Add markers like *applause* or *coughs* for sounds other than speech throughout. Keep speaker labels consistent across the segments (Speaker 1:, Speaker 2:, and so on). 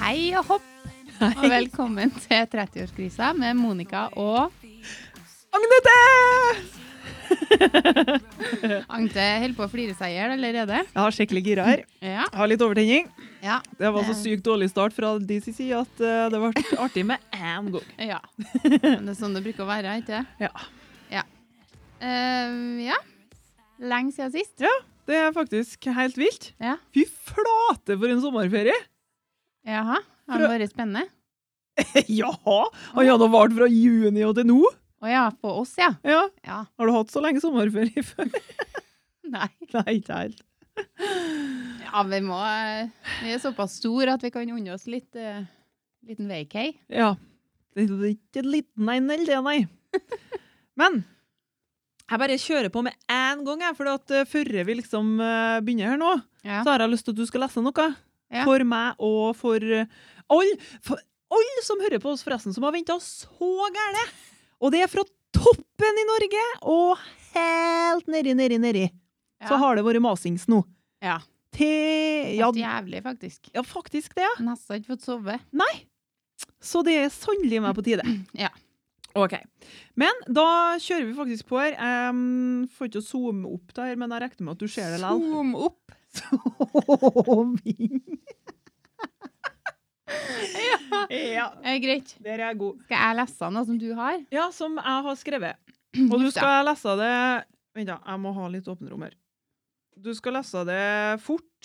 Speaker 1: Hei og hopp, og velkommen til 30-årskrisa med Monica og
Speaker 2: Agnete!
Speaker 1: Agnte holder på å flire seg i hjel allerede.
Speaker 2: Jeg har skikkelig gira her.
Speaker 1: Ja,
Speaker 2: Jeg har litt overtenning.
Speaker 1: ja,
Speaker 2: Det var så
Speaker 1: Det-
Speaker 2: sykt dårlig start fra de sin side at eh, det ble artig med én gang.
Speaker 1: ja. Men det er sånn det bruker å være, ikke det?
Speaker 2: Ja.
Speaker 1: Eh, ja. Lenge siden sist.
Speaker 2: Det er faktisk helt vilt.
Speaker 1: Ja.
Speaker 2: Fy flate for en *laughs* sommerferie!
Speaker 1: Jaha. Har det vært spennende?
Speaker 2: ja! Han hadde vart fra juni og til nå.
Speaker 1: Å ja, på oss, ja.
Speaker 2: Ja.
Speaker 1: Ja.
Speaker 2: Har du hatt så lenge sommerferie *laughs* før?
Speaker 1: Nei.
Speaker 2: Nei, ikke helt.
Speaker 1: Ja, vi må eh, Vi er såpass store at vi kan unne oss litt eh, liten vacay.
Speaker 2: Ja. Det er ikke en liten en eller det, nei. *laughs* Men jeg bare kjører på med én gang, jeg, for at eh, før vi liksom eh, begynner her nå,
Speaker 1: Ja.
Speaker 2: så har jeg lyst til at du skal lese noe.
Speaker 1: Ja.
Speaker 2: For meg og for eh, alle for alle som hører på oss, forresten, som har venta så gæle. Og det er fra toppen i Norge og helt nedi, nedi, nedi. Så har det vært masings nå.
Speaker 1: Ja.
Speaker 2: Til ja,
Speaker 1: Helt jævlig, faktisk.
Speaker 2: ja, faktisk det. ja.
Speaker 1: Nesten ikke fått sove.
Speaker 2: Så det er sannelig meg på tide.
Speaker 1: *clears throat* Ja.
Speaker 2: Ok. Men da kjører vi faktisk på her. Em, får ikke å zoome opp der, men jeg regner med at du ser det likevel.
Speaker 1: Zoom opp.
Speaker 2: ja. ja.
Speaker 1: Eh, greit.
Speaker 2: Der er jeg god.
Speaker 1: Skal jeg lese noe som du har?
Speaker 2: Ja, som jeg har skrevet. *clears throat* Og du
Speaker 1: Just det.
Speaker 2: skal lese det Vent, da. Jeg må ha litt åpne rom her. Du skal lese det fort.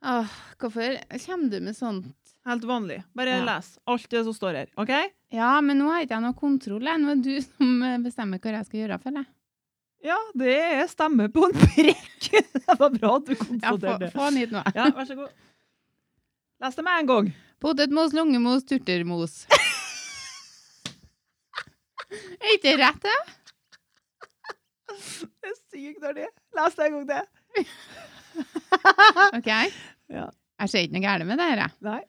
Speaker 1: Åh, hvorfor kommer du med sånn? sånt?
Speaker 2: Helt vanlig. Bare
Speaker 1: Ja.
Speaker 2: les alt det som står her. OK?
Speaker 1: Ja, men nå har ikke jeg noe kontroll. jeg. Nå er det du som eh, bestemmer hva jeg skal gjøre. føler jeg.
Speaker 2: Ja, det er stemme på en prekk. *laughs* det var bra at du
Speaker 1: Ja, få,
Speaker 2: konstaterte det.
Speaker 1: få den hit nå.
Speaker 2: *laughs* Ja, vær så god. Les det med en gang.
Speaker 1: Potetmos, lungemos, turtermos. Er ikke det rett, det?
Speaker 2: Det er sykt når det Les det en gang til.
Speaker 1: OK?
Speaker 2: Ja.
Speaker 1: Jeg ser ikke noe galt med det her. jeg.
Speaker 2: Nei.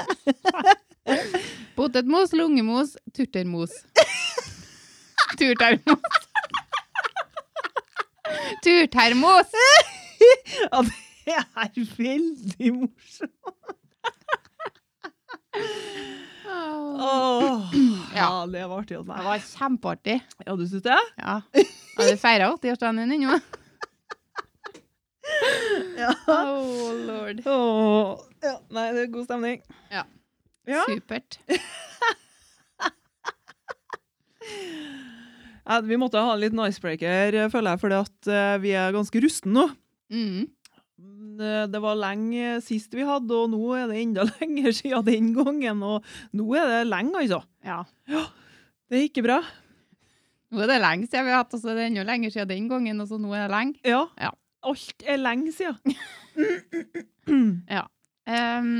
Speaker 2: *laughs*
Speaker 1: Potetmos, lungemos,
Speaker 2: *laughs*
Speaker 1: turtermos. Turtermos. Turtermos!
Speaker 2: Ja, det er veldig morsomt.
Speaker 1: Åh.
Speaker 2: Åh, ja,
Speaker 1: *clears throat* Ja.
Speaker 2: det var artig.
Speaker 1: Det
Speaker 2: Nei.
Speaker 1: var kjempeartig.
Speaker 2: Ja, du syns det?
Speaker 1: Ja. Har du feira 80-årsdagen din ennå?
Speaker 2: *laughs* Ja.
Speaker 1: Oh lord.
Speaker 2: Åh, ja. Nei, det er god stemning.
Speaker 1: Ja.
Speaker 2: Ja,
Speaker 1: Supert.
Speaker 2: ja, Vi måtte ha en liten icebreaker, eh, føler jeg, fordi at eh, vi er ganske rustne nå.
Speaker 1: Mm.
Speaker 2: Mm, eh, Det var lenge sist vi hadde, og nå er det enda *laughs* lenger siden den gangen. Og nå er det lenge, altså.
Speaker 1: Ja.
Speaker 2: Det er ikke bra.
Speaker 1: Nå er det lenge siden vi har hatt oss, det er enda lenger siden den gangen, og så nå er det lenge.
Speaker 2: Ja.
Speaker 1: Ja.
Speaker 2: Alt er lenge siden.
Speaker 1: Ehm,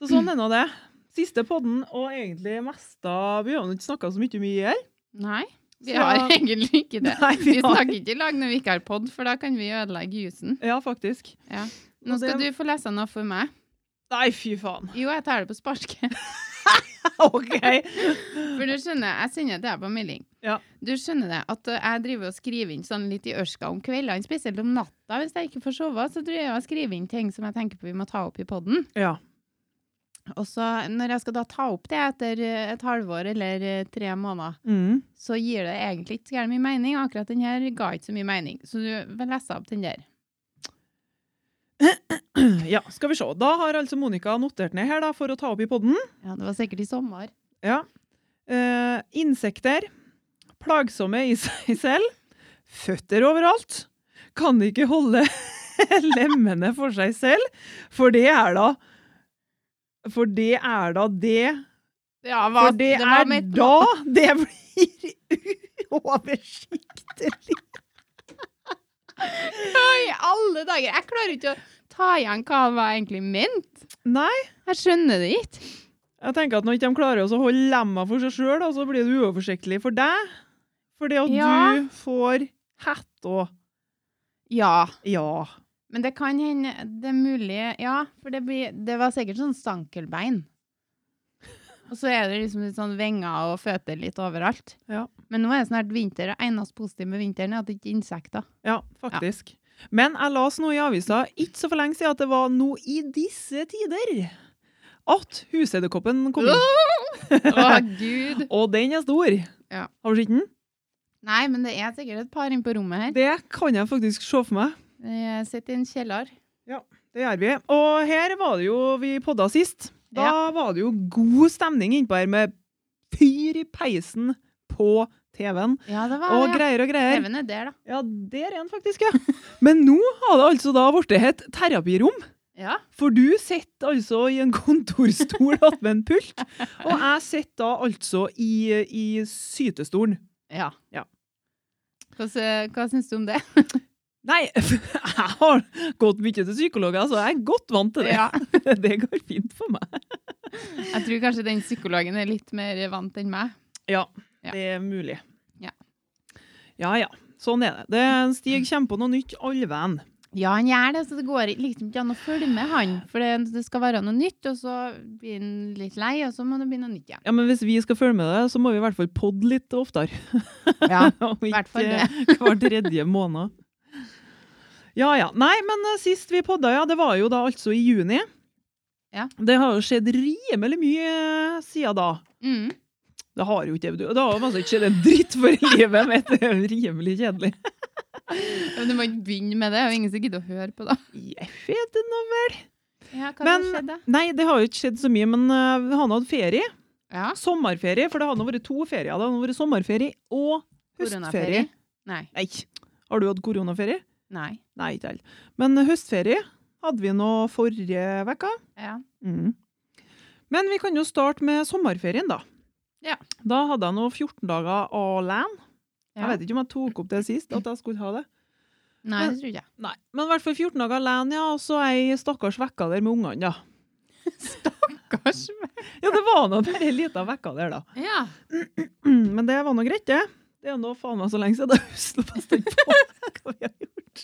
Speaker 2: Så sånn er nå det. Siste podden, og egentlig mest av Vi har jo ikke snakka så mye mye her.
Speaker 1: nei, vi
Speaker 2: Så-
Speaker 1: har *laughs* egentlig ikke det.
Speaker 2: *laughs* Nei,
Speaker 1: Vi
Speaker 2: vi har-
Speaker 1: snakker ikke i lag når vi ikke har pod, for da kan vi ødelegge jusen.
Speaker 2: Ja, faktisk.
Speaker 1: Ja.
Speaker 2: Og
Speaker 1: Nå skal du
Speaker 2: det-
Speaker 1: få lese noe for meg.
Speaker 2: Nei, fy faen. *laughs*
Speaker 1: Jo, jeg tar det på sparket.
Speaker 2: OK.
Speaker 1: For du skjønner, jeg sender det til deg på melding.
Speaker 2: Ja.
Speaker 1: Du skjønner det, at eh, jeg driver og skriver inn sånn litt i ørska om kveldene, spesielt om natta. Hvis jeg ikke får sove, så tror jeg jeg skriver inn ting som jeg tenker på vi må ta opp i podden.
Speaker 2: Ja.
Speaker 1: Og så når jeg skal da ta opp det etter eh, et halvår eller eh, tre måneder,
Speaker 2: Mm.
Speaker 1: så gir det egentlig ikke så gærent mye mening. Akkurat den her ga ikke så mye mening. Så du vil lese opp den der.
Speaker 2: Ja, skal vi se. Da har altså Monica notert ned her da, for å ta opp i podden.
Speaker 1: Ja, det var sikkert i sommer.
Speaker 2: Ja. Eh, insekter. Plagsomme i seg *laughs* selv. Føtter overalt. Kan ikke holde *laughs* lemmene for seg selv. For det er da For det er da det
Speaker 1: Ja,
Speaker 2: For det,
Speaker 1: var
Speaker 2: er
Speaker 1: mitt-
Speaker 2: da det blir *laughs* uoversiktlig.
Speaker 1: Oi, alle dager! Jeg klarer ikke å ta igjen hva han var egentlig ment.
Speaker 2: Nei,
Speaker 1: Jeg skjønner det ikke.
Speaker 2: jeg tenker at når ikke de klarer å holde lemma for seg sjøl, så blir det uoversiktlig for deg. For det at
Speaker 1: Ja.
Speaker 2: du får hett og
Speaker 1: Ja.
Speaker 2: Ja.
Speaker 1: Men det kan hende det er mulig Ja, for det, blir, det var sikkert sånn stankelbein. Og så er det liksom litt sånn vinger og føtter litt overalt.
Speaker 2: Ja.
Speaker 1: Men nå er det snart vinter, og eneste positive med vinteren er at det ikke er insekter.
Speaker 2: Ja, faktisk. Men jeg las nå i avisa ikke så for lenge siden at det var nå i disse tider at husedderkoppen kom inn.
Speaker 1: *laughs* *laughs* Å, gud!
Speaker 2: *laughs* Og den er stor.
Speaker 1: Ja.
Speaker 2: Har du sett den?
Speaker 1: Nei, men det er sikkert et par inne på rommet her.
Speaker 2: Det kan jeg faktisk se for meg.
Speaker 1: Jeg sitter i en kjeller.
Speaker 2: Det gjør vi. Og her var det jo vi podda sist. Da var det jo god stemning innpå her med fyr i peisen på TV-en
Speaker 1: Ah, Ja, det var
Speaker 2: og
Speaker 1: det.
Speaker 2: greier og
Speaker 1: ja.
Speaker 2: greier.
Speaker 1: Even er der, da.
Speaker 2: Ja, der er den faktisk, ja. *laughs* Men nå har det altså da blitt et terapirom.
Speaker 1: Ja.
Speaker 2: For du sitter altså i en kontorstol *laughs* attmed en pult, og jeg sitter da altså i, i sytestolen.
Speaker 1: ja.
Speaker 2: Ja.
Speaker 1: Hva, sy- hva syns du om det?
Speaker 2: Nei, *laughs* jeg har gått mye til psykologer, så jeg er godt vant til det.
Speaker 1: *laughs* Ja.
Speaker 2: *laughs* Det går fint for meg.
Speaker 1: *laughs* Jeg tror kanskje den psykologen er litt mer vant enn meg.
Speaker 2: Ja,
Speaker 1: Ja.
Speaker 2: det er mulig.
Speaker 1: Ja.
Speaker 2: ja, ja. Sånn er det. det Stig kommer på noe nytt all veien.
Speaker 1: Ja, han gjør det, så det går ikke- liksom ikke an å følge med han. For det, det skal være noe nytt, og så blir han litt lei, og så må det bli noe nytt igjen.
Speaker 2: Ja, men hvis vi skal følge med det, så må vi i hvert fall podde litt oftere. *laughs*
Speaker 1: Ja,
Speaker 2: Og
Speaker 1: hvert fall
Speaker 2: ikke *laughs* hver tredje måned. Ja, ja. Nei, men eh, sist vi podda, ja, det var jo da altså i juni.
Speaker 1: Ja.
Speaker 2: Det har jo skjedd rimelig mye eh, siden da.
Speaker 1: *laughs* mm.
Speaker 2: Det har jo ikke det. du- Det har jo altså ikke skjedd en dritt for livet mitt. Det er jo rimelig
Speaker 1: *laughs*
Speaker 2: kjedelig.
Speaker 1: Men du må ikke begynne med det, og ingen som gidder å høre på det.
Speaker 2: Jeg vet det nå vel.
Speaker 1: Ja, hva
Speaker 2: Men-
Speaker 1: har skjedd da?
Speaker 2: Nei, det har jo ikke skjedd så mye, men eh, vi har nå hatt ferie.
Speaker 1: Ja,
Speaker 2: Sommerferie, for det har nå vært to ferier. Det har nå vært sommerferie og høstferie.
Speaker 1: koronaferie. Nei,
Speaker 2: Nei, har du hatt koronaferie?
Speaker 1: nei.
Speaker 2: Nei, ikke heller. Men høstferie hadde vi nå forrige uke.
Speaker 1: Ja.
Speaker 2: Mm. Men vi kan jo starte med sommerferien, da.
Speaker 1: Ja.
Speaker 2: Da hadde jeg nå 14 dager alene. Jeg
Speaker 1: Ja.
Speaker 2: vet ikke om jeg tok opp det sist, at jeg skulle ha det.
Speaker 1: Nei, det tror ikke jeg.
Speaker 2: Nei, Men i hvert fall 14 dager alene, ja, og så ei stakkars uke der med ungene, ja. *laughs*
Speaker 1: Kanskje.
Speaker 2: Ja, det var nå bare ei lita uke der, da.
Speaker 1: Ja.
Speaker 2: Mm, Men det var nå greit, det. Det er jo nå faen meg så lenge siden. *laughs* Jeg husker fast ikke
Speaker 1: *laughs*
Speaker 2: på hva vi har gjort.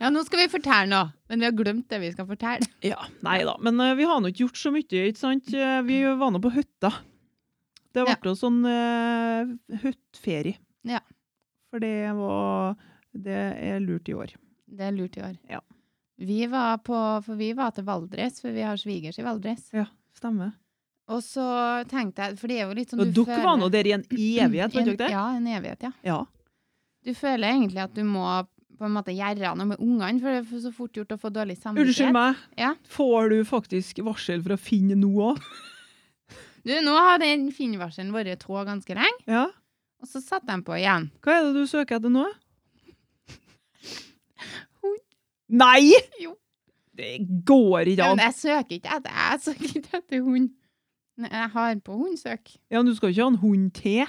Speaker 1: ja, nå skal vi fortelle noe, men vi har glemt det vi skal fortelle.
Speaker 2: Ja, nei da. Men eh, vi har nå ikke gjort så mye, ikke sant? Eh, Vi var nå på hytta. Det ble
Speaker 1: Ja.
Speaker 2: jo sånn uh, hyttferie.
Speaker 1: Ja.
Speaker 2: For det var Det er lurt i år.
Speaker 1: Det er lurt i år.
Speaker 2: Ja.
Speaker 1: Vi var, på, for vi var til Valdres, for vi har svigers i Valdres.
Speaker 2: Ja, stemmer.
Speaker 1: Og så tenkte jeg, for det er jo litt sånn
Speaker 2: Og
Speaker 1: du
Speaker 2: dere var nå der i
Speaker 1: *clears throat*
Speaker 2: en evighet, var dere
Speaker 1: det?
Speaker 2: det?
Speaker 1: Ja, en evighet, ja.
Speaker 2: Ja.
Speaker 1: Du føler egentlig at du må på en måte gjøre noe med ungene, for det er så fort gjort å få dårlig samvittighet.
Speaker 2: Unnskyld meg.
Speaker 1: Ja.
Speaker 2: Får du faktisk varsel fra Finn nå òg?
Speaker 1: Du, nå har den finnvarselen vært trå ganske lenge,
Speaker 2: Ja.
Speaker 1: og så satte den på igjen.
Speaker 2: Hva er det du søker etter nå?
Speaker 1: *laughs* Hund.
Speaker 2: Nei!
Speaker 1: Jo.
Speaker 2: Det går ikke
Speaker 1: Ja,
Speaker 2: an.
Speaker 1: men jeg søker ikke etter, jeg søker ikke etter hund. Nei, Jeg har på hundsøk.
Speaker 2: Ja, men du skal ikke ha en hund til?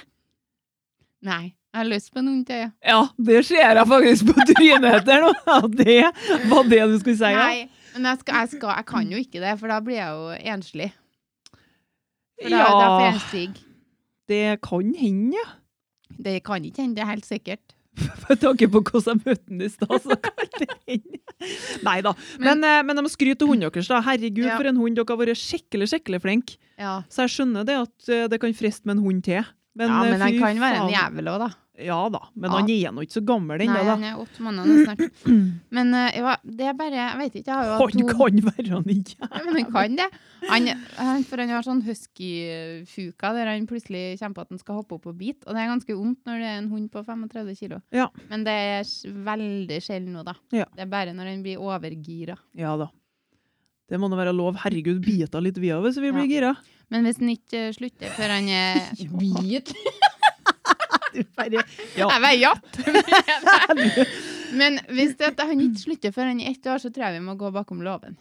Speaker 1: Nei, jeg har lyst på en hund til, ja.
Speaker 2: Ja, det ser jeg faktisk på trynet etter nå. *laughs* Ja, Det var det du skulle si. ja.
Speaker 1: Nei, men jeg, skal, jeg, skal, jeg kan jo ikke det, for da blir jeg jo enslig. For da, da får jeg
Speaker 2: Ja,
Speaker 1: en stig.
Speaker 2: det kan hende, ja.
Speaker 1: Det kan ikke hende, det er helt sikkert.
Speaker 2: Med tanke på hvordan jeg møtte den i stad, så kan det hende. Nei da. Men, eh, men de må skryte til hunden deres, da. Herregud,
Speaker 1: Ja.
Speaker 2: for en hund. Dere har vært skikkelig, skikkelig flinke.
Speaker 1: Ja,
Speaker 2: Så jeg skjønner det at eh, det kan friste med en hund til. Men,
Speaker 1: ja
Speaker 2: eh,
Speaker 1: men han
Speaker 2: fy
Speaker 1: kan være en
Speaker 2: faen.
Speaker 1: jævel òg, da.
Speaker 2: Ja da, men
Speaker 1: Ja.
Speaker 2: han er nå ikke så gammel
Speaker 1: Nei,
Speaker 2: ennå, da.
Speaker 1: han er åtte måneder snart. *clears throat* Men eh, ja, det er bare Jeg vet ikke, jeg har jo
Speaker 2: *laughs* Han
Speaker 1: hatt to
Speaker 2: kan være han ikke.
Speaker 1: Ja, *laughs* Men han kan det. Han, han, for han har sånn husky-fuka der han plutselig kommer på at han skal hoppe opp og bite. Og det er ganske vondt når det er en hund på 35 kilo.
Speaker 2: Ja.
Speaker 1: Men det er s- veldig sjelden nå, da.
Speaker 2: Ja.
Speaker 1: Det er bare når han blir overgira.
Speaker 2: Ja da. Det må da være lov. Herregud, bita litt vi av hvis vi blir gira. *laughs*
Speaker 1: Men hvis han ikke eh, slutter før han er Bit?
Speaker 2: Du
Speaker 1: *laughs*
Speaker 2: bare- *laughs* Ja.
Speaker 1: Jeg
Speaker 2: *laughs*
Speaker 1: var jatt! Men hvis det, at han ikke slutter før han er ett år, så tror jeg vi må gå bakom låven.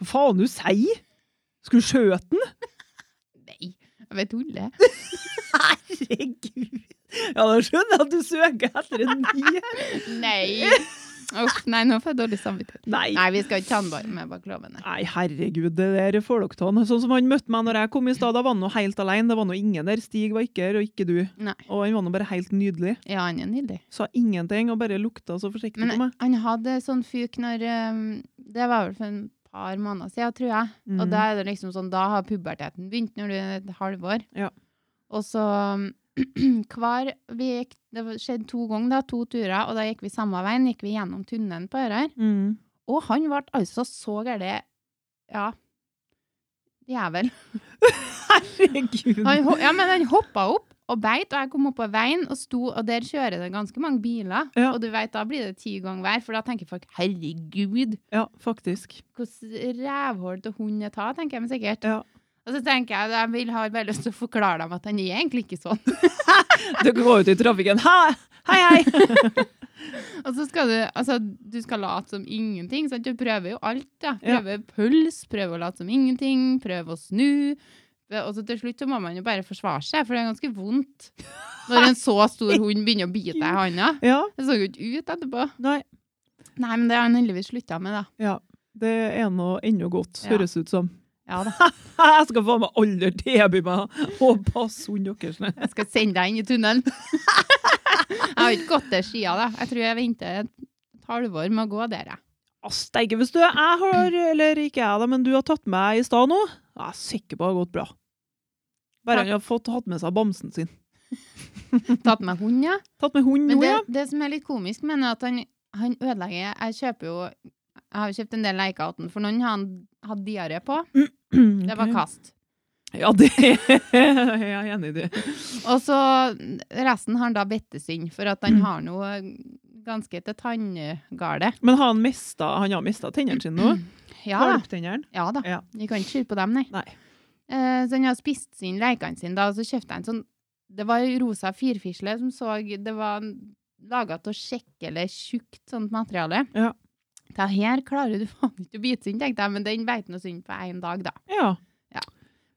Speaker 2: Hva faen du sier? Skulle du
Speaker 1: *laughs*
Speaker 2: skjøte den?
Speaker 1: Nei, jeg vet tulle.
Speaker 2: Herregud. Ja, da skjønner jeg at du søker etter en ny.
Speaker 1: Nei. *laughs* Uff, nei, nå får jeg dårlig samvittighet.
Speaker 2: Nei.
Speaker 1: *laughs* Nei, vi skal ikke ta han bare med bak låven. nei.
Speaker 2: Nei, herregud, det der får dere ta. han. Sånn som han møtte meg når jeg kom i stad, da var han nå helt alene. Det var nå ingen der. Stig var ikke her, og ikke du.
Speaker 1: Nei.
Speaker 2: Og han var nå bare helt nydelig.
Speaker 1: Ja, han er nydelig.
Speaker 2: Sa ingenting og bare lukta så forsiktig på
Speaker 1: Men
Speaker 2: meg.
Speaker 1: han hadde sånn fyk når um, Det var vel for en par måneder siden, tror jeg. Og
Speaker 2: Mm.
Speaker 1: da er det liksom sånn, da har puberteten begynt når du er et halvår.
Speaker 2: Ja.
Speaker 1: Og så um, *clears throat* hver vi gikk, Det var- skjedde to ganger, da, to turer, og da gikk vi samme veien. gikk vi gjennom tunnelen på Ørøy.
Speaker 2: Mm.
Speaker 1: Og han ble altså så gæren Ja. Jævel.
Speaker 2: Herregud.
Speaker 1: Han, ho- ja, men han hoppa opp og beit, og jeg kom opp på veien og sto, og der kjører det ganske mange biler.
Speaker 2: Ja.
Speaker 1: Og du vet, da blir det ti ganger hver, for da tenker folk 'herregud',
Speaker 2: Ja, faktisk.
Speaker 1: hvordan rævhål til hund er ta, tenker jeg meg sikkert.
Speaker 2: Ja.
Speaker 1: Og så tenker jeg, jeg vil ha veldig lyst til å forklare dem at han er egentlig ikke sånn. *laughs*
Speaker 2: Dere går ut i trafikken. Ha! Hei, hei!
Speaker 1: Og så skal du, altså, du skal late som ingenting, sant? Du prøver jo alt, da.
Speaker 2: Ja.
Speaker 1: Prøver puls, prøver å late som ingenting, prøver å snu. Og så til slutt så må man jo bare forsvare seg, for det er ganske vondt når en så stor hund begynner å bite deg i handa.
Speaker 2: *laughs* Ja,
Speaker 1: Det så jo ikke ut etterpå.
Speaker 2: nei.
Speaker 1: Nei, men det har han heldigvis slutta med, da.
Speaker 2: Ja, det er nå ennå godt,
Speaker 1: Ja.
Speaker 2: høres ut som.
Speaker 1: Ja da.
Speaker 2: *laughs* Jeg skal faen meg aldri tilby meg å passe hunden deres. ned.
Speaker 1: Jeg skal sende deg inn i
Speaker 2: *laughs*
Speaker 1: tunnelen. Jeg har ikke gått der siden, da. Jeg tror jeg venter et halvår med å gå der, jeg.
Speaker 2: Å, Steike, hvis du jeg har, eller ikke jeg da, men du har tatt med i stad nå, jeg er sikker på at det har gått bra. Bare
Speaker 1: Takk.
Speaker 2: han har fått, hatt med seg bamsen sin.
Speaker 1: Tatt med hund, ja.
Speaker 2: Tatt med hund
Speaker 1: Men
Speaker 2: nå,
Speaker 1: det,
Speaker 2: ja.
Speaker 1: det som er litt komisk, men er at han, han ødelegger Jeg kjøper jo Jeg har jo kjøpt en del leker til han, for noen har han hatt diaré på. Det var
Speaker 2: *clears throat* Ok.
Speaker 1: kast.
Speaker 2: Ja, det *laughs* er jeg enig i. det.
Speaker 1: Og så resten har han da bettesynd, for at
Speaker 2: Mhm.
Speaker 1: han har noe ganske til tanngale.
Speaker 2: Men har han, mista, han har mista tennene sine nå?
Speaker 1: Ja da.
Speaker 2: Valptennene?
Speaker 1: Ja da.
Speaker 2: Ja.
Speaker 1: Vi kan ikke skylde på dem, nei.
Speaker 2: Nei.
Speaker 1: Eh, så han har spist sin lekene sine, da, og så kjøpte jeg en sånn Det var en rosa firfisle som så Det var laga av sjekk eller tjukt sånt materiale.
Speaker 2: Ja.
Speaker 1: Det her klarer du faen ikke å bite synd, tenkte jeg, men den beit nå synd på én dag, da.
Speaker 2: Ja.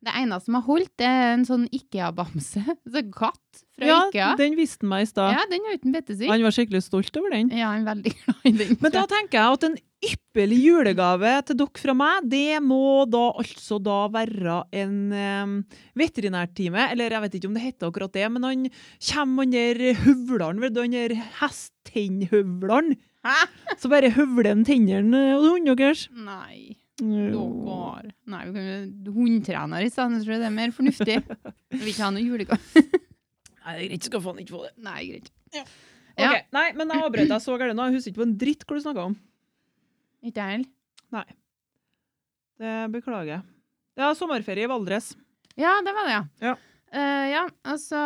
Speaker 1: Det eneste som har holdt, det er en sånn Ikea-bamse. *laughs* Så katt fra
Speaker 2: ja,
Speaker 1: Ikea.
Speaker 2: den viste han meg i stad.
Speaker 1: Ja, den er uten bettesynd.
Speaker 2: Han var skikkelig stolt over den.
Speaker 1: Ja, jeg er veldig *laughs* glad i den.
Speaker 2: Men da tenker jeg at en ypperlig julegave til dere fra meg, det må da altså da være en eh, veterinærtime, eller jeg vet ikke om det heter akkurat det, men han kommer under høvleren, vet du, under hesttennhøvleren,
Speaker 1: Hæ?
Speaker 2: så bare høvler han tennene og hunden deres.
Speaker 1: Nei. Dokker. Nei, vi kan jo hundtrener i stedet, tror jeg det er mer
Speaker 2: *laughs*
Speaker 1: fornuftig. Vi vil ikke ha noe julegave.
Speaker 2: Nei, det er greit, skal faen ikke få det.
Speaker 1: Nei, greit.
Speaker 2: Ok,
Speaker 1: Ja.
Speaker 2: Nei, men jeg avbrøt deg så gærent nå. Jeg husker ikke på en dritt hva du snakka om.
Speaker 1: Ikke jeg heller.
Speaker 2: Det beklager jeg. Ja, sommerferie i Valdres.
Speaker 1: Ja, det var det, ja.
Speaker 2: Ja.
Speaker 1: Eh, ja, altså,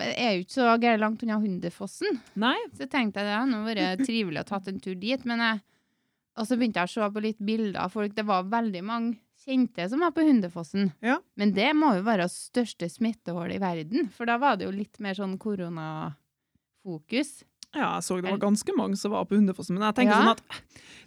Speaker 1: jeg er jo ikke så gærent langt unna Hundefossen,
Speaker 2: Nei?
Speaker 1: så tenkte jeg det hadde nå
Speaker 2: *laughs*
Speaker 1: vært trivelig å tatt en tur dit, men jeg, og så begynte jeg å se på litt bilder av folk, det var veldig mange kjente som var på Hundefossen.
Speaker 2: Ja.
Speaker 1: Men det må jo være største smittehull i verden, for da var det jo litt mer sånn koronafokus.
Speaker 2: Ja, jeg så det
Speaker 1: Er-
Speaker 2: var ganske mange som var på Hundefossen, men jeg tenker
Speaker 1: Ja.
Speaker 2: sånn at eh,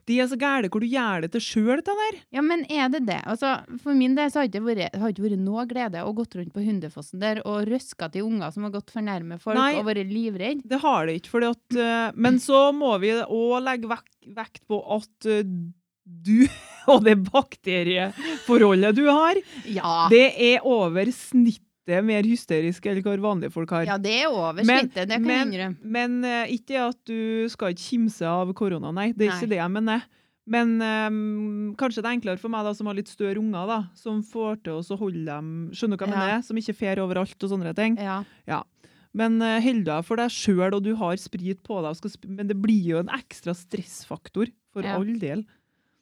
Speaker 2: de er så gæle hvor du gjør det til sjøl, det der.
Speaker 1: Ja, men er det det? Altså, for min del så har det ikke vært, har det ikke vært noe glede å gått rundt på Hundefossen der og røska til unger som har gått for nærme folk
Speaker 2: Nei.
Speaker 1: og vært livredd.
Speaker 2: Det har det ikke, fordi at eh, Men så må vi òg legge vekt, vekt på at eh, du *laughs* og det bakterieforholdet du har,
Speaker 1: Ja.
Speaker 2: det er over snittet mer hysterisk enn hva vanlige folk har.
Speaker 1: ja, det er over
Speaker 2: Men-
Speaker 1: snittet, det kan jeg
Speaker 2: men-
Speaker 1: innrømme.
Speaker 2: Men eh, ikke det at du skal ikke kimse av korona, nei. Det er
Speaker 1: Nei.
Speaker 2: ikke det jeg mener. Men eh, kanskje det er enklere for meg da, som har litt større unger, da, som får til oss å holde dem Skjønner du hva jeg
Speaker 1: Ja.
Speaker 2: mener? Som ikke fer overalt og sånne ting.
Speaker 1: Ja.
Speaker 2: Men uh, hold deg for deg sjøl, og du har sprit på deg, og skal sp men det blir jo en ekstra stressfaktor. For
Speaker 1: Ja.
Speaker 2: all del.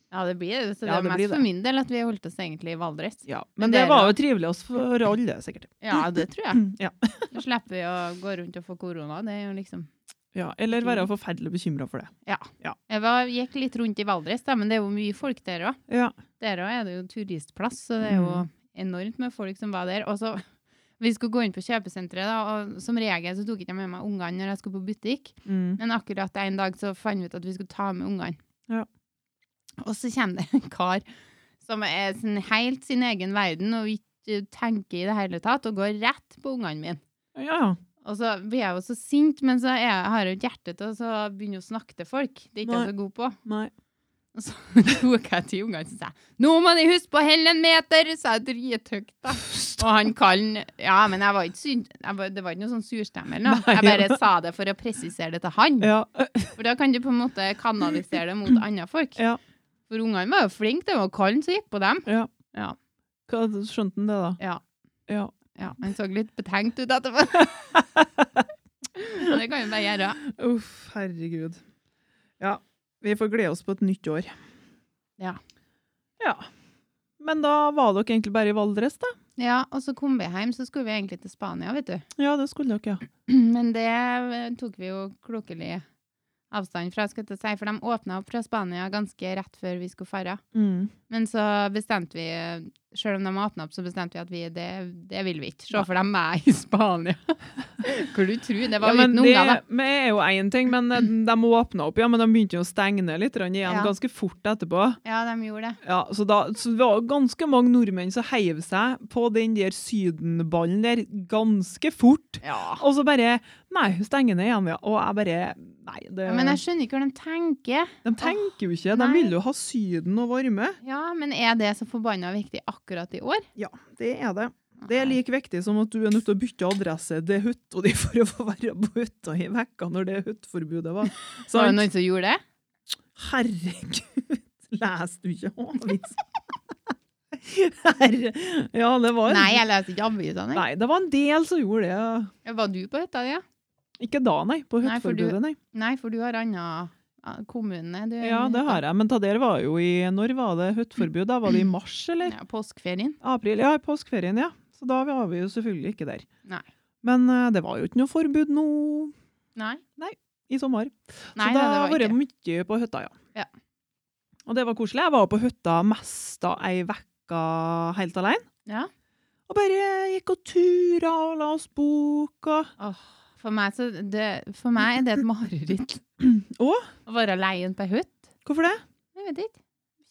Speaker 1: ja, det blir det. Så det
Speaker 2: Ja,
Speaker 1: er
Speaker 2: det
Speaker 1: mest
Speaker 2: blir det.
Speaker 1: for min del at vi holdt oss egentlig i Valdres.
Speaker 2: Ja.
Speaker 1: Men
Speaker 2: Men det
Speaker 1: dere-
Speaker 2: var jo trivelig oss for *clears throat* alle, sikkert.
Speaker 1: Ja, det tror *laughs* jeg.
Speaker 2: Ja.
Speaker 1: Da slipper vi å gå rundt og få korona. Det er jo liksom
Speaker 2: ja. Eller være forferdelig bekymra for det.
Speaker 1: Jeg var, gikk litt rundt i Valdres, da, men det er jo mye folk der òg.
Speaker 2: Ja.
Speaker 1: Der òg er det jo turistplass, så det er jo
Speaker 2: Mm.
Speaker 1: enormt med folk som var der. Og så vi skulle gå inn på kjøpesenteret, da, og som regel så tok ikke jeg med meg ungene når jeg skulle på butikk.
Speaker 2: Mm.
Speaker 1: Men akkurat en dag så fant vi ut at vi skulle ta med ungene.
Speaker 2: Ja.
Speaker 1: Og så kommer det en kar som er sin, helt sin egen verden og ikke tenker i det hele tatt, og går rett på ungene mine.
Speaker 2: Ja.
Speaker 1: Og så blir jeg jo så sint, men så er jeg, har jeg jo ikke hjerte til å så begynne å snakke til folk. Det er ikke jeg så god på.
Speaker 2: Nei.
Speaker 1: Og så *laughs* tok jeg til ungene og sa jeg, Nå må de huske på å helle en meter! sa jeg drithøyt, da. Og han kallen Ja, men jeg var ikke synd, jeg var, det var ikke noe sånn surstemme eller noe.
Speaker 2: Nei,
Speaker 1: Jeg bare sa det for å presisere det til han.
Speaker 2: Ja. *clears throat*
Speaker 1: For da kan du på en måte kanalisere det mot andre folk.
Speaker 2: Ja.
Speaker 1: For ungene var jo flinke, det var kallen som gikk på dem.
Speaker 2: ja.
Speaker 1: Ja.
Speaker 2: Hva- Skjønte han det, da?
Speaker 1: Ja.
Speaker 2: Ja.
Speaker 1: Ja, han så litt betenkt ut etterpå.
Speaker 2: *laughs*
Speaker 1: Men det kan jo bare gjøre.
Speaker 2: Uff, herregud. Ja, vi får glede oss på et nytt år.
Speaker 1: Ja.
Speaker 2: Ja. Men da var dere egentlig bare i Valdres, da?
Speaker 1: Ja, og så kom vi hjem, så skulle vi egentlig til Spania, vet du.
Speaker 2: Ja, det skulle dere, ja.
Speaker 1: *clears throat* Men det eh, tok vi jo klokelig avstand fra, skal jeg til å si, for de åpna opp fra Spania ganske rett før vi skulle fare.
Speaker 2: Mm.
Speaker 1: Men så bestemte vi, eh, selv om de har åpna opp, så bestemte vi at vi, det, det vil vi ikke. Se
Speaker 2: Nei.
Speaker 1: for dem meg i Spania. *laughs* Hvor du tror det var
Speaker 2: ja, men
Speaker 1: uten unger, da.
Speaker 2: det men det er jo én ting, men eh, de åpna opp, ja, men de begynte jo å stenge ned litt grann igjen
Speaker 1: Ja.
Speaker 2: ganske fort etterpå.
Speaker 1: Ja, de gjorde det.
Speaker 2: Ja, så, da, så det var ganske mange nordmenn som heiv seg på den der sydenballen der ganske fort.
Speaker 1: Ja.
Speaker 2: Og så bare Nei, hun stenger ned igjen, ja. Og jeg bare Nei, det,
Speaker 1: Men jeg skjønner ikke hva de tenker.
Speaker 2: de tenker jo ikke. De
Speaker 1: Nei.
Speaker 2: vil jo ha Syden og varme.
Speaker 1: Ja, men er det så forbanna viktig akkurat i år?
Speaker 2: Ja, det er det. Det er like viktig som at du er nødt til å bytte adresse til hytta di for å få være på hytta i vekka når det hytteforbudet
Speaker 1: *laughs*
Speaker 2: var.
Speaker 1: Var det
Speaker 2: Sant?
Speaker 1: noen som gjorde det?
Speaker 2: Herregud, *laughs* leser du ikke avis?
Speaker 1: *laughs*
Speaker 2: Herre. Ja, det var
Speaker 1: Nei, jeg leste ikke avisene. jeg.
Speaker 2: Nei, det var en del som gjorde det.
Speaker 1: Var du på hytta di? Ja?
Speaker 2: Ikke da, nei. På
Speaker 1: Nei, for du-
Speaker 2: hytteforbudet, nei.
Speaker 1: Nei, for du har anna ah, kommune. Du,
Speaker 2: Ja, det har jeg. Men ta der var jo i Når var det hytteforbud? Da var det i mars, eller?
Speaker 1: Ja, påskeferien.
Speaker 2: April? Ja, i påskeferien, ja. Så da var vi jo selvfølgelig ikke der.
Speaker 1: Nei.
Speaker 2: Men eh, det var jo ikke noe forbud nå
Speaker 1: Nei,
Speaker 2: i sommer.
Speaker 1: Nei det
Speaker 2: så da
Speaker 1: var
Speaker 2: har
Speaker 1: ikke.
Speaker 2: jeg vært mye på hytta, ja.
Speaker 1: Ja.
Speaker 2: Og det var koselig. Jeg var på hytta mest av ei vekka helt alene.
Speaker 1: Ja.
Speaker 2: Og bare gikk og tura og la oss bok og
Speaker 1: Åh, for, meg så, det, for meg er det et *clears throat* mareritt.
Speaker 2: Å?
Speaker 1: Å være leien på hytt.
Speaker 2: Hvorfor det?
Speaker 1: Jeg vet ikke.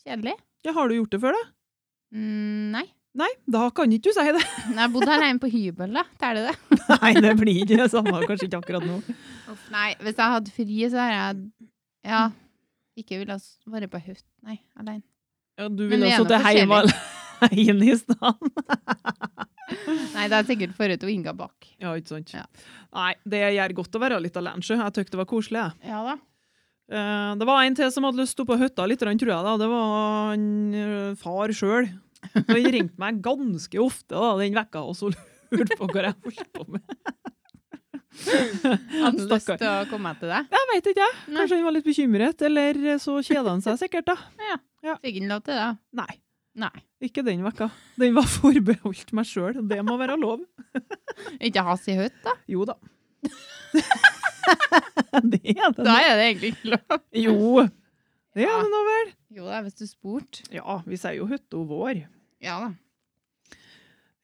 Speaker 1: Kjedelig.
Speaker 2: Ja, har du gjort det før, da?
Speaker 1: Mm, nei.
Speaker 2: Nei, da kan ikke du si det. *laughs*
Speaker 1: Nei, Jeg bodde alene på hybel, da. Teller det?
Speaker 2: Nei, det blir ikke det samme, kanskje ikke akkurat nå.
Speaker 1: Uff, nei, hvis jeg hadde fri, så hadde jeg Ja. Ikke ville s- vært på hytt, nei. Alene.
Speaker 2: Ja, du
Speaker 1: Men
Speaker 2: ville
Speaker 1: vi er
Speaker 2: ha
Speaker 1: nå
Speaker 2: sittet hjemme alene i stedet.
Speaker 1: Nei, det er sikkert forut og Inga bak.
Speaker 2: Ja, ikke sant.
Speaker 1: Ja.
Speaker 2: Nei, det gjør godt å være litt alene, sjø. Jeg tykte det var koselig, jeg.
Speaker 1: Ja da.
Speaker 2: Eh, det var en til som hadde lyst til å opp på hytta litt, tror jeg. da. Det var han, eh, far sjøl. Han ringte meg ganske ofte da, den vekka og så lurte på hva jeg holdt på med.
Speaker 1: Hadde lyst
Speaker 2: Stakkar.
Speaker 1: til å komme til deg.
Speaker 2: Jeg veit ikke, jeg.
Speaker 1: Nei.
Speaker 2: Kanskje han var litt bekymret, eller så kjeda han seg sikkert, da.
Speaker 1: Fikk han lov til det?
Speaker 2: Nei,
Speaker 1: Nei.
Speaker 2: ikke den vekka. Den var forbeholdt meg sjøl. Det må være lov.
Speaker 1: Ikke has i høtt, da?
Speaker 2: Jo da. *laughs* det er det.
Speaker 1: Da er det egentlig ikke lov.
Speaker 2: Jo. Det er
Speaker 1: Ja.
Speaker 2: det nå vel.
Speaker 1: Jo da, hvis du spurte.
Speaker 2: Ja, vi sier jo hytte og vår.
Speaker 1: Ja da.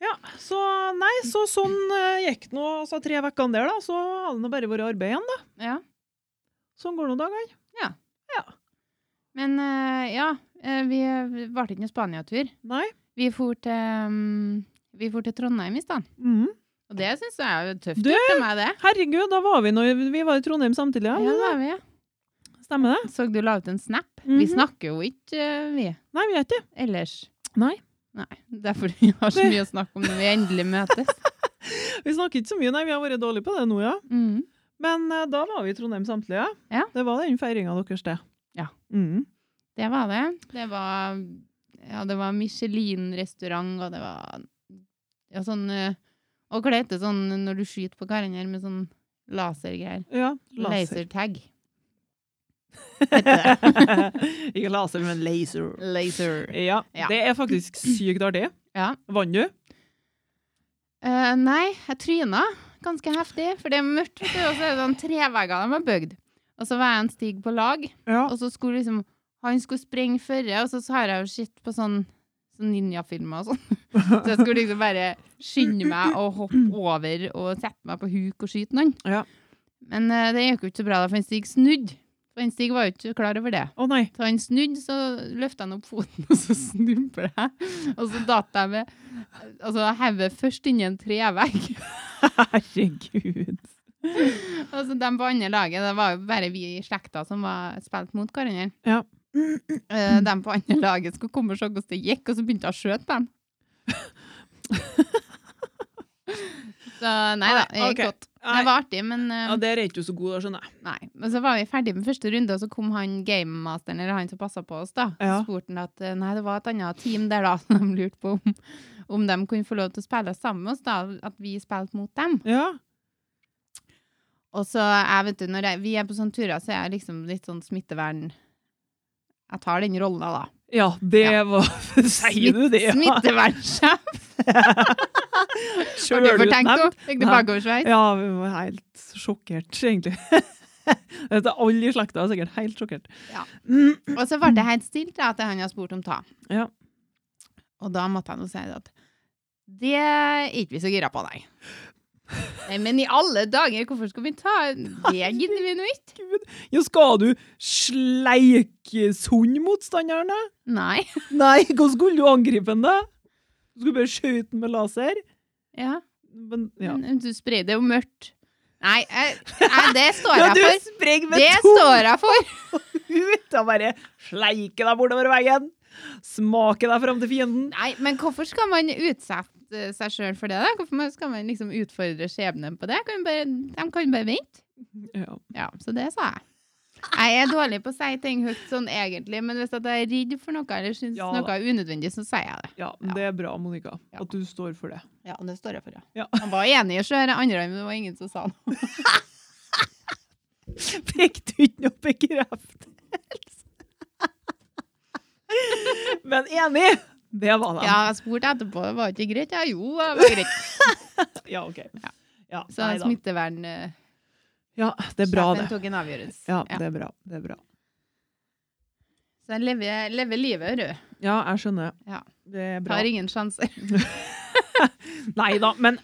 Speaker 2: Ja, så nei, så sånn eh, gikk det nå altså, tre ukene der, da. Så hadde det nå bare vært arbeid igjen, da.
Speaker 1: Ja.
Speaker 2: Sånn går nå dagene.
Speaker 1: Men eh, ja, eh, vi vi ble ikke noen Spania-tur.
Speaker 2: Nei.
Speaker 1: Vi for til, mm, vi for til Trondheim i stedet.
Speaker 2: Mhm.
Speaker 1: Og det syns jeg er jo tøft
Speaker 2: Du!
Speaker 1: gjort av meg, det.
Speaker 2: Herregud, da var vi nå Vi var i Trondheim samtidig, ja.
Speaker 1: Ja, det er vi. ja.
Speaker 2: Stemmer det?
Speaker 1: Så du la ut en snap? Vi
Speaker 2: Mhm.
Speaker 1: snakker jo ikke, eh, vi
Speaker 2: Nei, vi er ikke det.
Speaker 1: ellers.
Speaker 2: Nei.
Speaker 1: Nei, Det er fordi vi har så mye å snakke om når vi endelig møtes.
Speaker 2: *laughs* Vi snakker ikke så mye, nei. Vi har vært dårlige på det nå, ja.
Speaker 1: Mhm.
Speaker 2: Men eh, da var vi i Trondheim samtidig, ja.
Speaker 1: Ja.
Speaker 2: Det var den feiringa deres, det.
Speaker 1: Ja.
Speaker 2: Mhm.
Speaker 1: Det var det. Det var, ja, det var Michelin-restaurant, og det var ja, sånn eh, Og hva det heter sånn når du skyter på hverandre med sånn lasergreier?
Speaker 2: ja. Laser.
Speaker 1: Lasertag.
Speaker 2: *laughs* Ikke laser, men laser.
Speaker 1: Laser.
Speaker 2: Ja,
Speaker 1: Ja.
Speaker 2: det er faktisk sykt artig.
Speaker 1: Ja.
Speaker 2: Vant du?
Speaker 1: Eh, nei, jeg tryna ganske heftig, for det er mørkt, vet du, og så er det sånn trevegger de har bygd. Og så var jeg en stig på lag,
Speaker 2: Ja.
Speaker 1: og så skulle liksom Han skulle sprenge førre, og så så har jeg jo sett på sånn sånn ninjafilmer og sånn. Så jeg skulle liksom bare skynde meg og hoppe over og sette meg på huk og skyte noen.
Speaker 2: Ja.
Speaker 1: Men eh, det gikk jo ikke så bra, da, for en Stig snudde. For en Stig var jo ikke klar over det.
Speaker 2: *laughs* Å nei.
Speaker 1: Så han snudde, så løfta han opp foten, *laughs* og så snubla jeg. Og så datt jeg med altså, hodet først inni en trevegg. *laughs* Og
Speaker 2: Herregud.
Speaker 1: så Altså, de på andre laget, det var jo bare vi i slekta som var spilt mot hverandre.
Speaker 2: Ja.
Speaker 1: Eh, De på andre laget skulle komme og se
Speaker 2: *laughs*
Speaker 1: hvordan det gikk, og så begynte jeg å skjøte dem. Så nei da, det
Speaker 2: Nei,
Speaker 1: gikk
Speaker 2: ok.
Speaker 1: godt. Det var artig, men eh,
Speaker 2: Ja, Der er ikke du så god, da, skjønner jeg.
Speaker 1: nei. Men så var vi ferdig med første runde, og så kom han gamemasteren, eller han som passa på oss, da. Så
Speaker 2: Ja.
Speaker 1: spurte han at eh, nei, det var et annet team der, da, *laughs* som de lurte på om, om de kunne få lov til å spille sammen med oss, da. At vi spilte mot dem.
Speaker 2: Ja.
Speaker 1: Og så, jeg vet du, når jeg, vi er på sånne turer, så er jeg liksom litt sånn smittevern Jeg tar den rolla, da.
Speaker 2: Ja, det
Speaker 1: Ja.
Speaker 2: var *laughs* Sier du det? Ja.
Speaker 1: Smittevernsjef! Har du
Speaker 2: Kjører ut
Speaker 1: fortenkt
Speaker 2: dem?
Speaker 1: henne? Fikk det
Speaker 2: Nei.
Speaker 1: bakoversveis?
Speaker 2: Ja, vi var helt sjokkert, egentlig. *laughs* Dette er Alle i slekta er sikkert helt sjokkert.
Speaker 1: Ja.
Speaker 2: Mm,
Speaker 1: Og så ble det helt stilt da, etter han hadde spurt om ta.
Speaker 2: Ja.
Speaker 1: Og da måtte han jo si at det er ikke vi så gira på, nei. Nei, Men i alle dager, hvorfor skal vi ta Det gidder vi nå ikke.
Speaker 2: Gud. Ja, skal du sleike sund motstanderen, da?
Speaker 1: Nei.
Speaker 2: Nei, *laughs* hvordan skulle du angripe han, da? Du skulle bare skjøte han med laser?
Speaker 1: Ja.
Speaker 2: Men, ja. *laughs*
Speaker 1: Men du sprer det jo mørkt. Nei, jeg, jeg, det står
Speaker 2: ja,
Speaker 1: jeg
Speaker 2: du
Speaker 1: for.
Speaker 2: sprenger med
Speaker 1: Det
Speaker 2: to
Speaker 1: står jeg for.
Speaker 2: ut og bare sleiker deg bortover veien. Smaker deg fram til fienden.
Speaker 1: Nei, men hvorfor skal man utsette eh, seg sjøl for det? da? Hvorfor man- skal man liksom utfordre skjebnen på det? Kan man bare, de kan bare vente.
Speaker 2: Ja.
Speaker 1: Ja, så det sa jeg. Jeg er dårlig på å si ting høyt sånn egentlig, men hvis at jeg er redd for noe eller syns
Speaker 2: Ja da.
Speaker 1: noe er unødvendig, så sier jeg det.
Speaker 2: ja, det er bra, Monica,
Speaker 1: Ja.
Speaker 2: at du står for det.
Speaker 1: Ja, det står jeg for,
Speaker 2: *laughs* Ja.
Speaker 1: Han var enig i sjøl, andre men det var ingen som sa noe.
Speaker 2: Fikk du ikke noe bekreftelse? Men enig! Det var de.
Speaker 1: Ja, jeg spurte etterpå, det var ikke greit? Ja, jo, det var greit.
Speaker 2: Ja, OK.
Speaker 1: Ja.
Speaker 2: Ja,
Speaker 1: Så
Speaker 2: nei da.
Speaker 1: smittevernsjefen
Speaker 2: ja, det er bra, det.
Speaker 1: tok en avgjørelse.
Speaker 2: Ja,
Speaker 1: Ja.
Speaker 2: det er bra. Det er bra.
Speaker 1: Så jeg lever, lever livet, du.
Speaker 2: Ja, jeg skjønner.
Speaker 1: Ja.
Speaker 2: Det er bra.
Speaker 1: Har ingen sjanser. *laughs*
Speaker 2: Nei da, men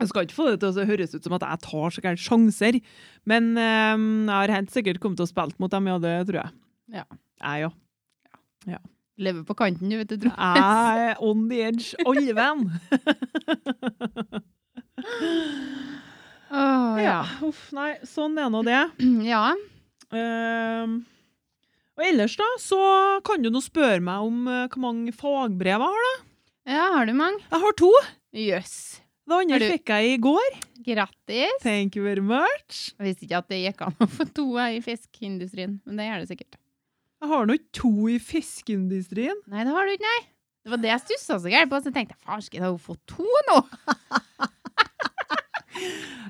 Speaker 2: jeg skal ikke få det til å høres ut som at jeg tar så gærent sjanser. Men ehm, jeg har helt sikkert kommet til å spille mot dem, ja, det tror jeg.
Speaker 1: Ja.
Speaker 2: Jeg, ja.
Speaker 1: Lever på kanten, du vet du, tror
Speaker 2: Jeg er on the edge, alle venn.
Speaker 1: Åh, *laughs* ja.
Speaker 2: Uff, nei, sånn er nå det.
Speaker 1: *clears throat* Ja.
Speaker 2: Ehm, og ellers da, så kan du nå spørre meg om eh, hvor mange fagbrev jeg har, da.
Speaker 1: ja, har du mange?
Speaker 2: Jeg har to.
Speaker 1: Jøss.
Speaker 2: Det
Speaker 1: Har
Speaker 2: andre
Speaker 1: du-
Speaker 2: fikk jeg i går.
Speaker 1: Grattis.
Speaker 2: Thank you very much.
Speaker 1: Jeg visste ikke at det gikk an å få to her i fiskeindustrien, men det gjør det sikkert.
Speaker 2: Jeg har nå ikke to i fiskeindustrien.
Speaker 1: Nei, det har du ikke, nei. Det var det jeg stussa så gærent på, så tenkte jeg farsken, har hun fått to *laughs* nå?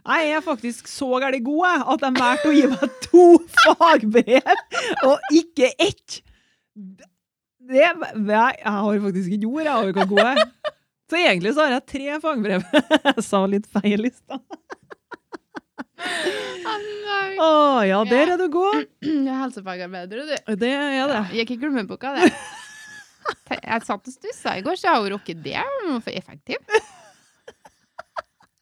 Speaker 2: Nei, jeg er faktisk så gærent god jeg, at de valgte å gi meg to *laughs* fagbrev og ikke ett. Det, nei, jeg har faktisk ikke ord jeg over hvor god jeg er. Så egentlig så har jeg tre fagbrev. *laughs* Jeg sa litt feil i stad.
Speaker 1: *clears throat* Du
Speaker 2: Å ja, der er du god.
Speaker 1: er helsefagarbeider, du.
Speaker 2: Det er det.
Speaker 1: Ja, Gikk i glemmeboka, *laughs* det. Te- Jeg satt og stussa i går, så jeg har jo rukket det. men Hvorfor effektiv? *laughs*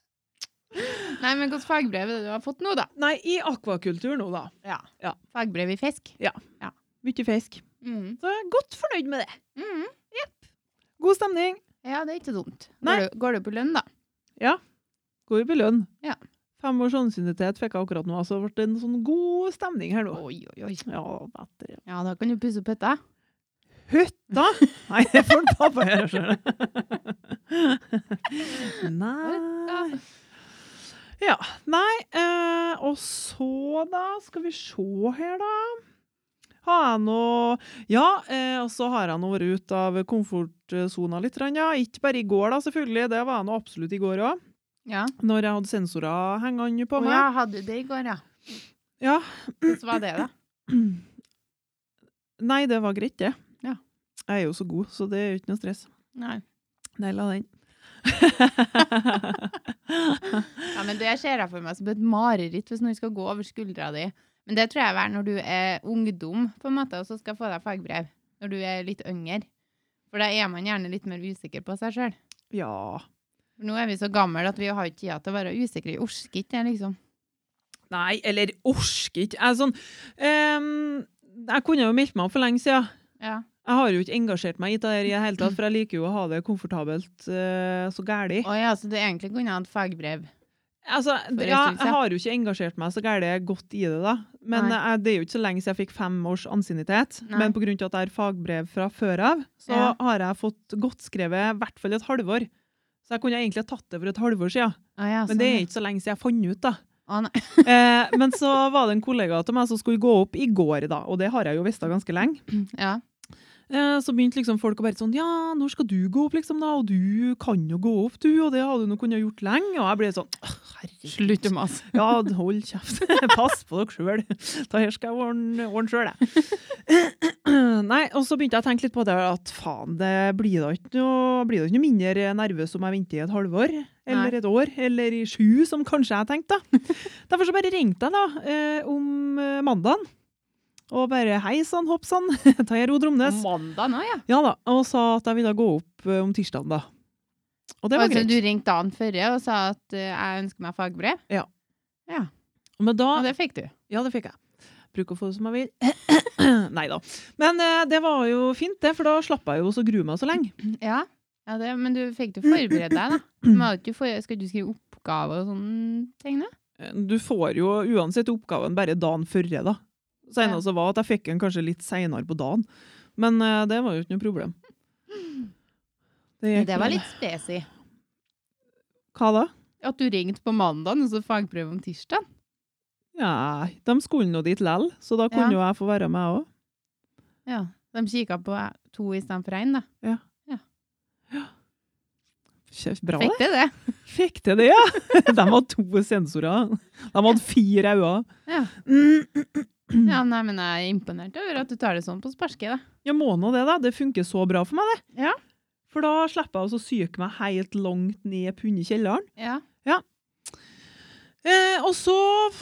Speaker 1: Nei, men hvilket fagbrev er det du har fått nå, da?
Speaker 2: Nei, i akvakultur nå, da.
Speaker 1: Ja.
Speaker 2: Ja.
Speaker 1: Fagbrev i fisk?
Speaker 2: Mye fisk.
Speaker 1: Mhm.
Speaker 2: Så jeg er godt fornøyd med det.
Speaker 1: Mhm.
Speaker 2: God stemning.
Speaker 1: Ja, det er ikke dumt.
Speaker 2: Nei.
Speaker 1: Går du, går du på lønn, da?
Speaker 2: Går jo på lønn.
Speaker 1: Ja.
Speaker 2: Fem års sannsynlighet fikk jeg akkurat nå, så det ble en sånn god stemning her nå.
Speaker 1: Oi, oi, oi.
Speaker 2: Ja, bedre.
Speaker 1: Ja, da kan du pusse opp hytta.
Speaker 2: *laughs* Hytta? Nei, det får en pappa gjøre sjøl. *laughs* Nei Ja. Nei, eh, og så, da Skal vi se her, da. Har jeg nå Ja, eh, og så har jeg nå vært ute av komfortsona litt. grann, Ja. Ikke bare i går, da, selvfølgelig. Det var jeg nå absolutt i går òg.
Speaker 1: Ja.
Speaker 2: Når jeg hadde sensorer hengende på
Speaker 1: Å
Speaker 2: meg.
Speaker 1: ja, hadde du det i går, ja.
Speaker 2: Ja.
Speaker 1: Hvordan var det, da?
Speaker 2: Nei, det var greit, det.
Speaker 1: Ja.
Speaker 2: Jeg er jo så god, så det er jo ikke noe stress.
Speaker 1: *clears throat* Nei.
Speaker 2: Naila
Speaker 1: *laughs*
Speaker 2: den.
Speaker 1: Ja, men Det ser jeg for meg som et mareritt hvis noen skal gå over skuldra di. Men det tror jeg er når du er ungdom på en måte, og så skal få deg fagbrev. Når du er litt yngre. For da er man gjerne litt mer usikker på seg sjøl.
Speaker 2: ja.
Speaker 1: Nå er vi så gamle at vi har ikke tida til å være usikre. Jeg orker ikke det, liksom.
Speaker 2: Nei, eller orker ikke. Jeg, er sånn, ehm, jeg kunne jo meldt meg opp for lenge siden.
Speaker 1: Ja.
Speaker 2: Jeg har jo ikke engasjert meg i det her i det hele tatt, for jeg liker jo å ha det komfortabelt eh, så gæli.
Speaker 1: Å ja, så du egentlig kunne hatt fagbrev.
Speaker 2: Altså,
Speaker 1: For en
Speaker 2: ja,
Speaker 1: stund siden.
Speaker 2: jeg har jo ikke engasjert meg så gæli godt i det, da. Men
Speaker 1: Nei.
Speaker 2: jeg, det er jo ikke så lenge siden jeg fikk fem års ansiennitet.
Speaker 1: Nei.
Speaker 2: Men pga. at jeg har fagbrev fra før av, så
Speaker 1: Ja.
Speaker 2: har jeg fått godtskrevet i hvert fall et halvår. Så jeg kunne egentlig ha tatt det for et halvår siden.
Speaker 1: Å ja,
Speaker 2: Men det er ikke så lenge siden jeg fant ut, da.
Speaker 1: Å, nei.
Speaker 2: *laughs* Eh, men så var det en kollega av meg som skulle gå opp i går, da, og det har jeg jo visst ganske lenge.
Speaker 1: Ja.
Speaker 2: Eh, så begynte liksom folk å bare sånn Ja, når skal du gå opp, liksom, da? Og du kan jo gå opp, du, og det har du nå kunnet gjort lenge. Og jeg ble sånn «Åh, Herregud.
Speaker 1: Slutt å mase.
Speaker 2: Ja, hold kjeft. *laughs* Pass på dere sjøl. Det her skal jeg ordne, ordne sjøl, jeg. Nei, og så begynte jeg *clears throat* å tenke litt på det at faen, det blir da ikke noe, blir da ikke noe mindre nervøs om jeg venter i et halvår, eller
Speaker 1: Nei.
Speaker 2: et år, eller i sju, som kanskje jeg tenkte. da. Derfor så bare ringte jeg da, eh, om eh, mandagen. Og bare hei sann, hopp sann, *laughs* ta jeg Ro Dromnes.
Speaker 1: Mandag nå, ja.
Speaker 2: Ja da, og sa at jeg ville gå opp eh, om tirsdagen da. Og det var
Speaker 1: altså,
Speaker 2: greit.
Speaker 1: du ringte dagen før og sa at eh, jeg ønsker meg fagbrev.
Speaker 2: Ja.
Speaker 1: Ja,
Speaker 2: Men da,
Speaker 1: Og det fikk du.
Speaker 2: Ja, det fikk jeg. Bruk å få det som jeg vil. *clears throat* Nei da. Men eh, det var jo fint, det, for da slapp jeg jo å grue meg så lenge.
Speaker 1: Ja, ja det, men du
Speaker 2: *clears throat*
Speaker 1: fikk jo forberedt deg, da. Må du ikke for, skal du skrive oppgave og sånne ting, da?
Speaker 2: Eh, Du får jo uansett oppgaven bare dagen før, da. Senere
Speaker 1: Ja.
Speaker 2: så var at jeg fikk den kanskje litt seinere på dagen, men eh, det var jo ikke noe problem.
Speaker 1: *clears throat* Det
Speaker 2: gikk bra,
Speaker 1: var litt spesi.
Speaker 2: Hva da?
Speaker 1: At du ringte på mandag, og så fagprøve om tirsdag.
Speaker 2: Ja, de skulle nå dit lell, så da kunne jo jeg få være med òg.
Speaker 1: Ja. De kikka på to istedenfor én, da.
Speaker 2: Bra,
Speaker 1: Fikk
Speaker 2: det.
Speaker 1: det,
Speaker 2: *clears throat*
Speaker 1: det.
Speaker 2: Fikk til det, ja! *laughs* De hadde to sensorer. De hadde fire øyne. Mm.
Speaker 1: Ja. ja, nei, men jeg er imponert over at du tar det sånn på sparket, da.
Speaker 2: Jeg må nå det, da. Det funker så bra for meg, det.
Speaker 1: Ja.
Speaker 2: For da slipper jeg også å syke meg helt langt ned på under kjelleren.
Speaker 1: Ja.
Speaker 2: Eh, og så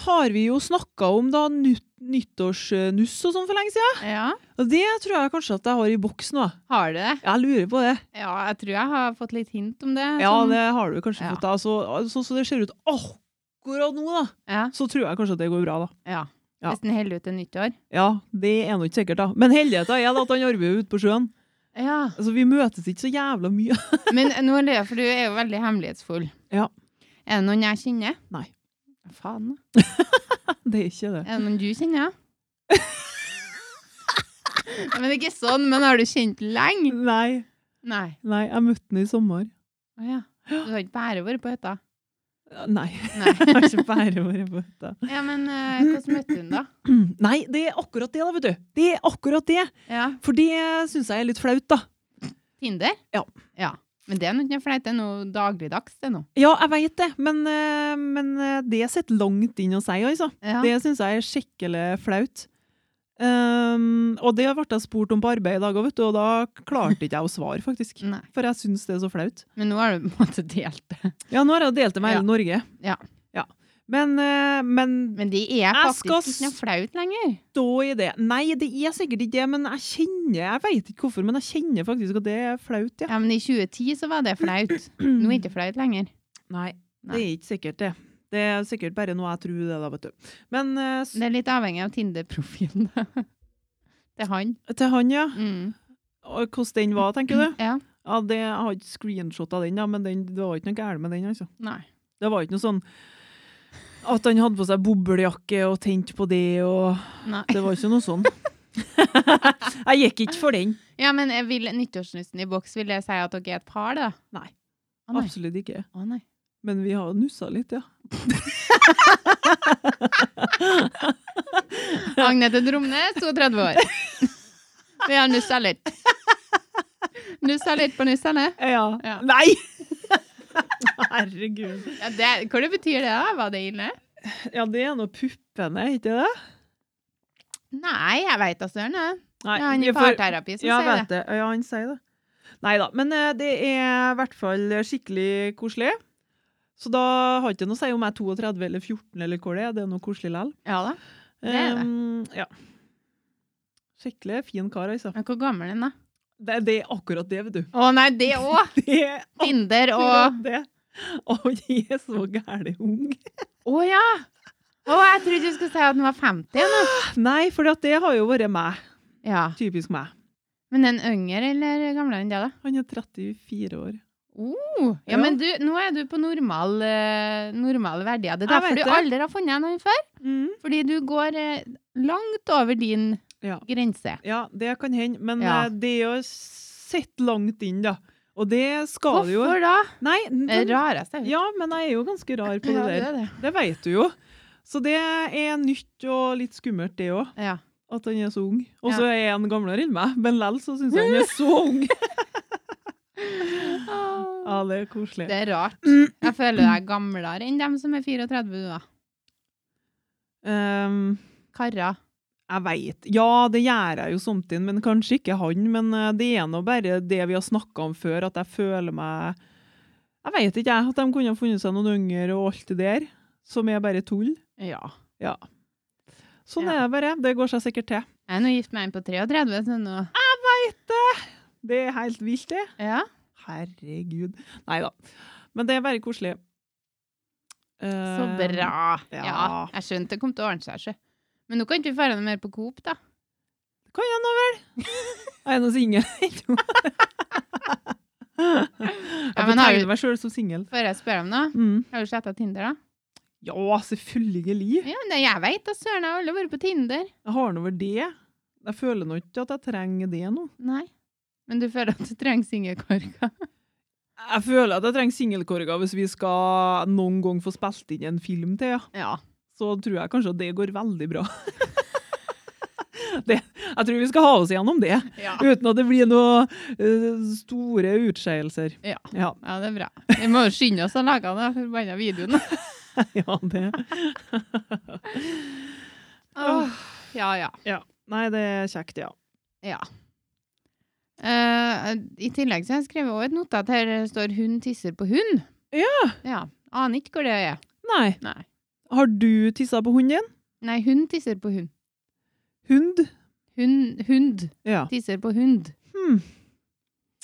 Speaker 2: har vi jo snakka om da nytt, nyttårsnuss og sånn for lenge siden.
Speaker 1: ja.
Speaker 2: Og det tror jeg kanskje at jeg har i boks nå.
Speaker 1: Har du det?
Speaker 2: Jeg lurer på det.
Speaker 1: Ja, jeg tror jeg har fått litt hint om det.
Speaker 2: Ja,
Speaker 1: sånn-
Speaker 2: det har du kanskje
Speaker 1: Ja.
Speaker 2: fått. da. Så altså, så det ser ut akkurat nå, da.
Speaker 1: Ja.
Speaker 2: Så tror jeg kanskje at det går bra, da.
Speaker 1: ja.
Speaker 2: Ja.
Speaker 1: Hvis den holder ut til nyttår.
Speaker 2: Ja, det er nå ikke sikkert, da. Men heldigheten er da at han arbeider ute på sjøen.
Speaker 1: Ja.
Speaker 2: Altså, vi møtes ikke så jævla mye. *laughs*
Speaker 1: Men nå er det, for du er jo veldig hemmelighetsfull.
Speaker 2: Ja.
Speaker 1: Er det noen jeg kjenner?
Speaker 2: Nei.
Speaker 1: Faen, da.
Speaker 2: Det er ikke det.
Speaker 1: Er det noen du kjenner? Nei, men det er ikke sånn, men har du kjent lenge?
Speaker 2: Nei,
Speaker 1: Nei.
Speaker 2: nei, jeg møtte han i sommer.
Speaker 1: Å ja. Du har ikke bare vært på hytta?
Speaker 2: Nei.
Speaker 1: Nei.
Speaker 2: Jeg *laughs* har ikke bare vært på hytta. *clears throat*
Speaker 1: Ja, men eh, hvordan møtte hun da?
Speaker 2: Nei, det er akkurat det, da, vet du. Det er akkurat det.
Speaker 1: Ja,
Speaker 2: For det syns jeg er litt flaut, da.
Speaker 1: Tinder?
Speaker 2: Ja.
Speaker 1: ja. Men det er noe flaut, det er noe dagligdags, det nå.
Speaker 2: Ja, jeg veit det, men, eh, men eh, det sitter langt inn å si, altså.
Speaker 1: Ja.
Speaker 2: Det syns jeg er skikkelig flaut. Ehm, og det ble jeg spurt om på arbeid i dag òg, vet du, og da klarte ikke jeg å svare, faktisk.
Speaker 1: Nei.
Speaker 2: For jeg syns det er så flaut.
Speaker 1: Men nå har du på en måte delt det.
Speaker 2: Ja, nå har jeg jo delt det med hele Norge.
Speaker 1: Ja.
Speaker 2: Men, eh, men
Speaker 1: Men det er
Speaker 2: Jeg
Speaker 1: faktisk
Speaker 2: skal
Speaker 1: ikke noe flaut lenger.
Speaker 2: stå i det. Nei, det er sikkert ikke det, men jeg kjenner Jeg veit ikke hvorfor, men jeg kjenner faktisk at det er flaut, ja.
Speaker 1: Ja, men i 2010 så var det flaut. Nå er det ikke flaut lenger.
Speaker 2: Nei, det
Speaker 1: Nei.
Speaker 2: er ikke sikkert det. Det er sikkert bare noe jeg tror det, da, vet du. Men eh, s-
Speaker 1: Det er litt avhengig av Tinder-profilen. Det er han.
Speaker 2: til han, ja.
Speaker 1: Mm.
Speaker 2: Og Hvordan den var, tenker du?
Speaker 1: Ja.
Speaker 2: Ja, det, Jeg har ikke screenshot av den, ja, men den, det var ikke noe gærent med den. altså.
Speaker 1: Nei.
Speaker 2: Det var ikke noe sånn at han hadde på seg boblejakke og tente på det og
Speaker 1: Nei.
Speaker 2: Det var ikke noe
Speaker 1: *laughs*
Speaker 2: sånn. jeg gikk ikke for den.
Speaker 1: Ja, men jeg vil nyttårsnussen i boks, vil jeg si at dere er et par, da?
Speaker 2: Nei.
Speaker 1: Å nei.
Speaker 2: Absolutt ikke.
Speaker 1: Å, nei.
Speaker 2: Men vi har nussa litt, ja.
Speaker 1: *laughs* Agnete Dromnes, 32
Speaker 2: *laughs*
Speaker 1: år. Vi har nussa litt. Nussa litt på nussene.
Speaker 2: Ja.
Speaker 1: Ja. *laughs*
Speaker 2: Nei! Herregud.
Speaker 1: Ja, det, hva det betyr det, da? Var det ille?
Speaker 2: Ja, det er nå puppene, er ikke det?
Speaker 1: Nei, jeg veit da søren. jeg.
Speaker 2: Nei,
Speaker 1: Det er han i
Speaker 2: jeg får-
Speaker 1: parterapi som
Speaker 2: ja, jeg
Speaker 1: sier
Speaker 2: vet det. Ja, han sier det. Nei da. Men eh, det er i hvert fall skikkelig koselig. Så da har ikke det noe å si om jeg er 32 eller 14 eller hvor det er. Det er noe koselig likevel.
Speaker 1: det. Ja da. Det er det.
Speaker 2: Um, ja. Skikkelig fin kar, altså.
Speaker 1: Men hvor gammel er han, da?
Speaker 2: Det, det er akkurat det, vet du. *laughs*
Speaker 1: Å nei, det òg!
Speaker 2: Det er
Speaker 1: Tinder og
Speaker 2: akkurat det. Og de er så gæle ung.
Speaker 1: Å ja! Å, jeg trodde du skulle si at han var 50 nå.
Speaker 2: Nei, for det har jo vært meg.
Speaker 1: Ja.
Speaker 2: Typisk meg.
Speaker 1: Men den yngre eller gamle enn det, da?
Speaker 2: Han er 34 år.
Speaker 1: Oh, ja,
Speaker 2: Ja.
Speaker 1: men du, nå er du på normal, eh, normale verdier. Det er
Speaker 2: Jeg
Speaker 1: derfor
Speaker 2: vet
Speaker 1: du
Speaker 2: det.
Speaker 1: aldri har funnet noen før. Fordi du går eh, langt over din
Speaker 2: Ja.
Speaker 1: grense.
Speaker 2: Ja, det kan hende, men
Speaker 1: Ja.
Speaker 2: eh, det er jo sett langt inn, da. Og det skal det jo
Speaker 1: Hvorfor da?
Speaker 2: Nei,
Speaker 1: Det er
Speaker 2: den,
Speaker 1: det rareste jeg vet.
Speaker 2: ja, men jeg er jo ganske rar på
Speaker 1: Eh, Ja,
Speaker 2: det
Speaker 1: det
Speaker 2: der.
Speaker 1: er det.
Speaker 2: Det vet du jo. Så det er nytt og litt skummelt, det òg.
Speaker 1: Ja.
Speaker 2: At han er så ung. Og så er han gamlere enn meg, men lell så syns jeg han er så
Speaker 1: *laughs*
Speaker 2: ung. Ja, det er koselig.
Speaker 1: Det er rart. Jeg føler deg gamlere enn dem som er 34, du da.
Speaker 2: Ehm,
Speaker 1: Karra.
Speaker 2: jeg veit. Ja, det gjør jeg jo samtidig, men kanskje ikke han. Men eh, det er nå bare det vi har snakka om før, at jeg føler meg Jeg veit ikke, jeg. At de kunne ha funnet seg noen yngre og alt det der, som er bare tull.
Speaker 1: Ja.
Speaker 2: Sånn
Speaker 1: Ja.
Speaker 2: er det bare. Det går seg sikkert til.
Speaker 1: Jeg er nå gift med en på 33, så nå
Speaker 2: Det er helt vilt, det.
Speaker 1: Ja.
Speaker 2: Herregud. Nei da. Men det er bare koselig.
Speaker 1: Så
Speaker 2: Eh,
Speaker 1: bra.
Speaker 2: ja.
Speaker 1: Ja. Jeg skjønte det kom til å ordne seg, sjø. Men nå kan ikke vi dra noe mer på Coop, da.
Speaker 2: Kan jeg nå vel? *laughs* Jeg er nå singel.
Speaker 1: Ja,
Speaker 2: Jeg
Speaker 1: men har
Speaker 2: betegner
Speaker 1: du-
Speaker 2: meg sjøl som singel.
Speaker 1: Før jeg spør om noe.
Speaker 2: Mm.
Speaker 1: Har du sletta Tinder, da?
Speaker 2: Ja, selvfølgelig.
Speaker 1: Ja, men jeg veit da, søren. Jeg har aldri vært på Tinder.
Speaker 2: Jeg har nå vel det. Jeg føler nå ikke at jeg trenger det nå.
Speaker 1: Nei. Men du føler at du trenger singelkorker?
Speaker 2: Jeg føler at jeg trenger singelkorga hvis vi skal noen gang få spilt inn en film til, ja.
Speaker 1: Ja.
Speaker 2: Så tror jeg kanskje at det går veldig bra. *laughs* det, jeg tror vi skal ha oss gjennom det,
Speaker 1: ja.
Speaker 2: *laughs* uten at det blir noen store utskeielser.
Speaker 1: Ja.
Speaker 2: Ja. *laughs*
Speaker 1: Ja, det er bra. Vi må jo skynde oss å lage den forbanna videoen.
Speaker 2: ja, det.
Speaker 1: Åh,
Speaker 2: Ah.
Speaker 1: Ja, ja.
Speaker 2: Ja. Nei, det er kjekt, ja.
Speaker 1: ja. Eh, I tillegg så har jeg skrevet også et notat her det står 'hun tisser på hund'.
Speaker 2: Ja.
Speaker 1: ja. Aner ikke hvor det er.
Speaker 2: Nei.
Speaker 1: Nei.
Speaker 2: Har du tissa på hunden din?
Speaker 1: Nei, hun tisser på hund.
Speaker 2: Hund?
Speaker 1: Hun, hund
Speaker 2: Ja.
Speaker 1: tisser på hund.
Speaker 2: Hmm.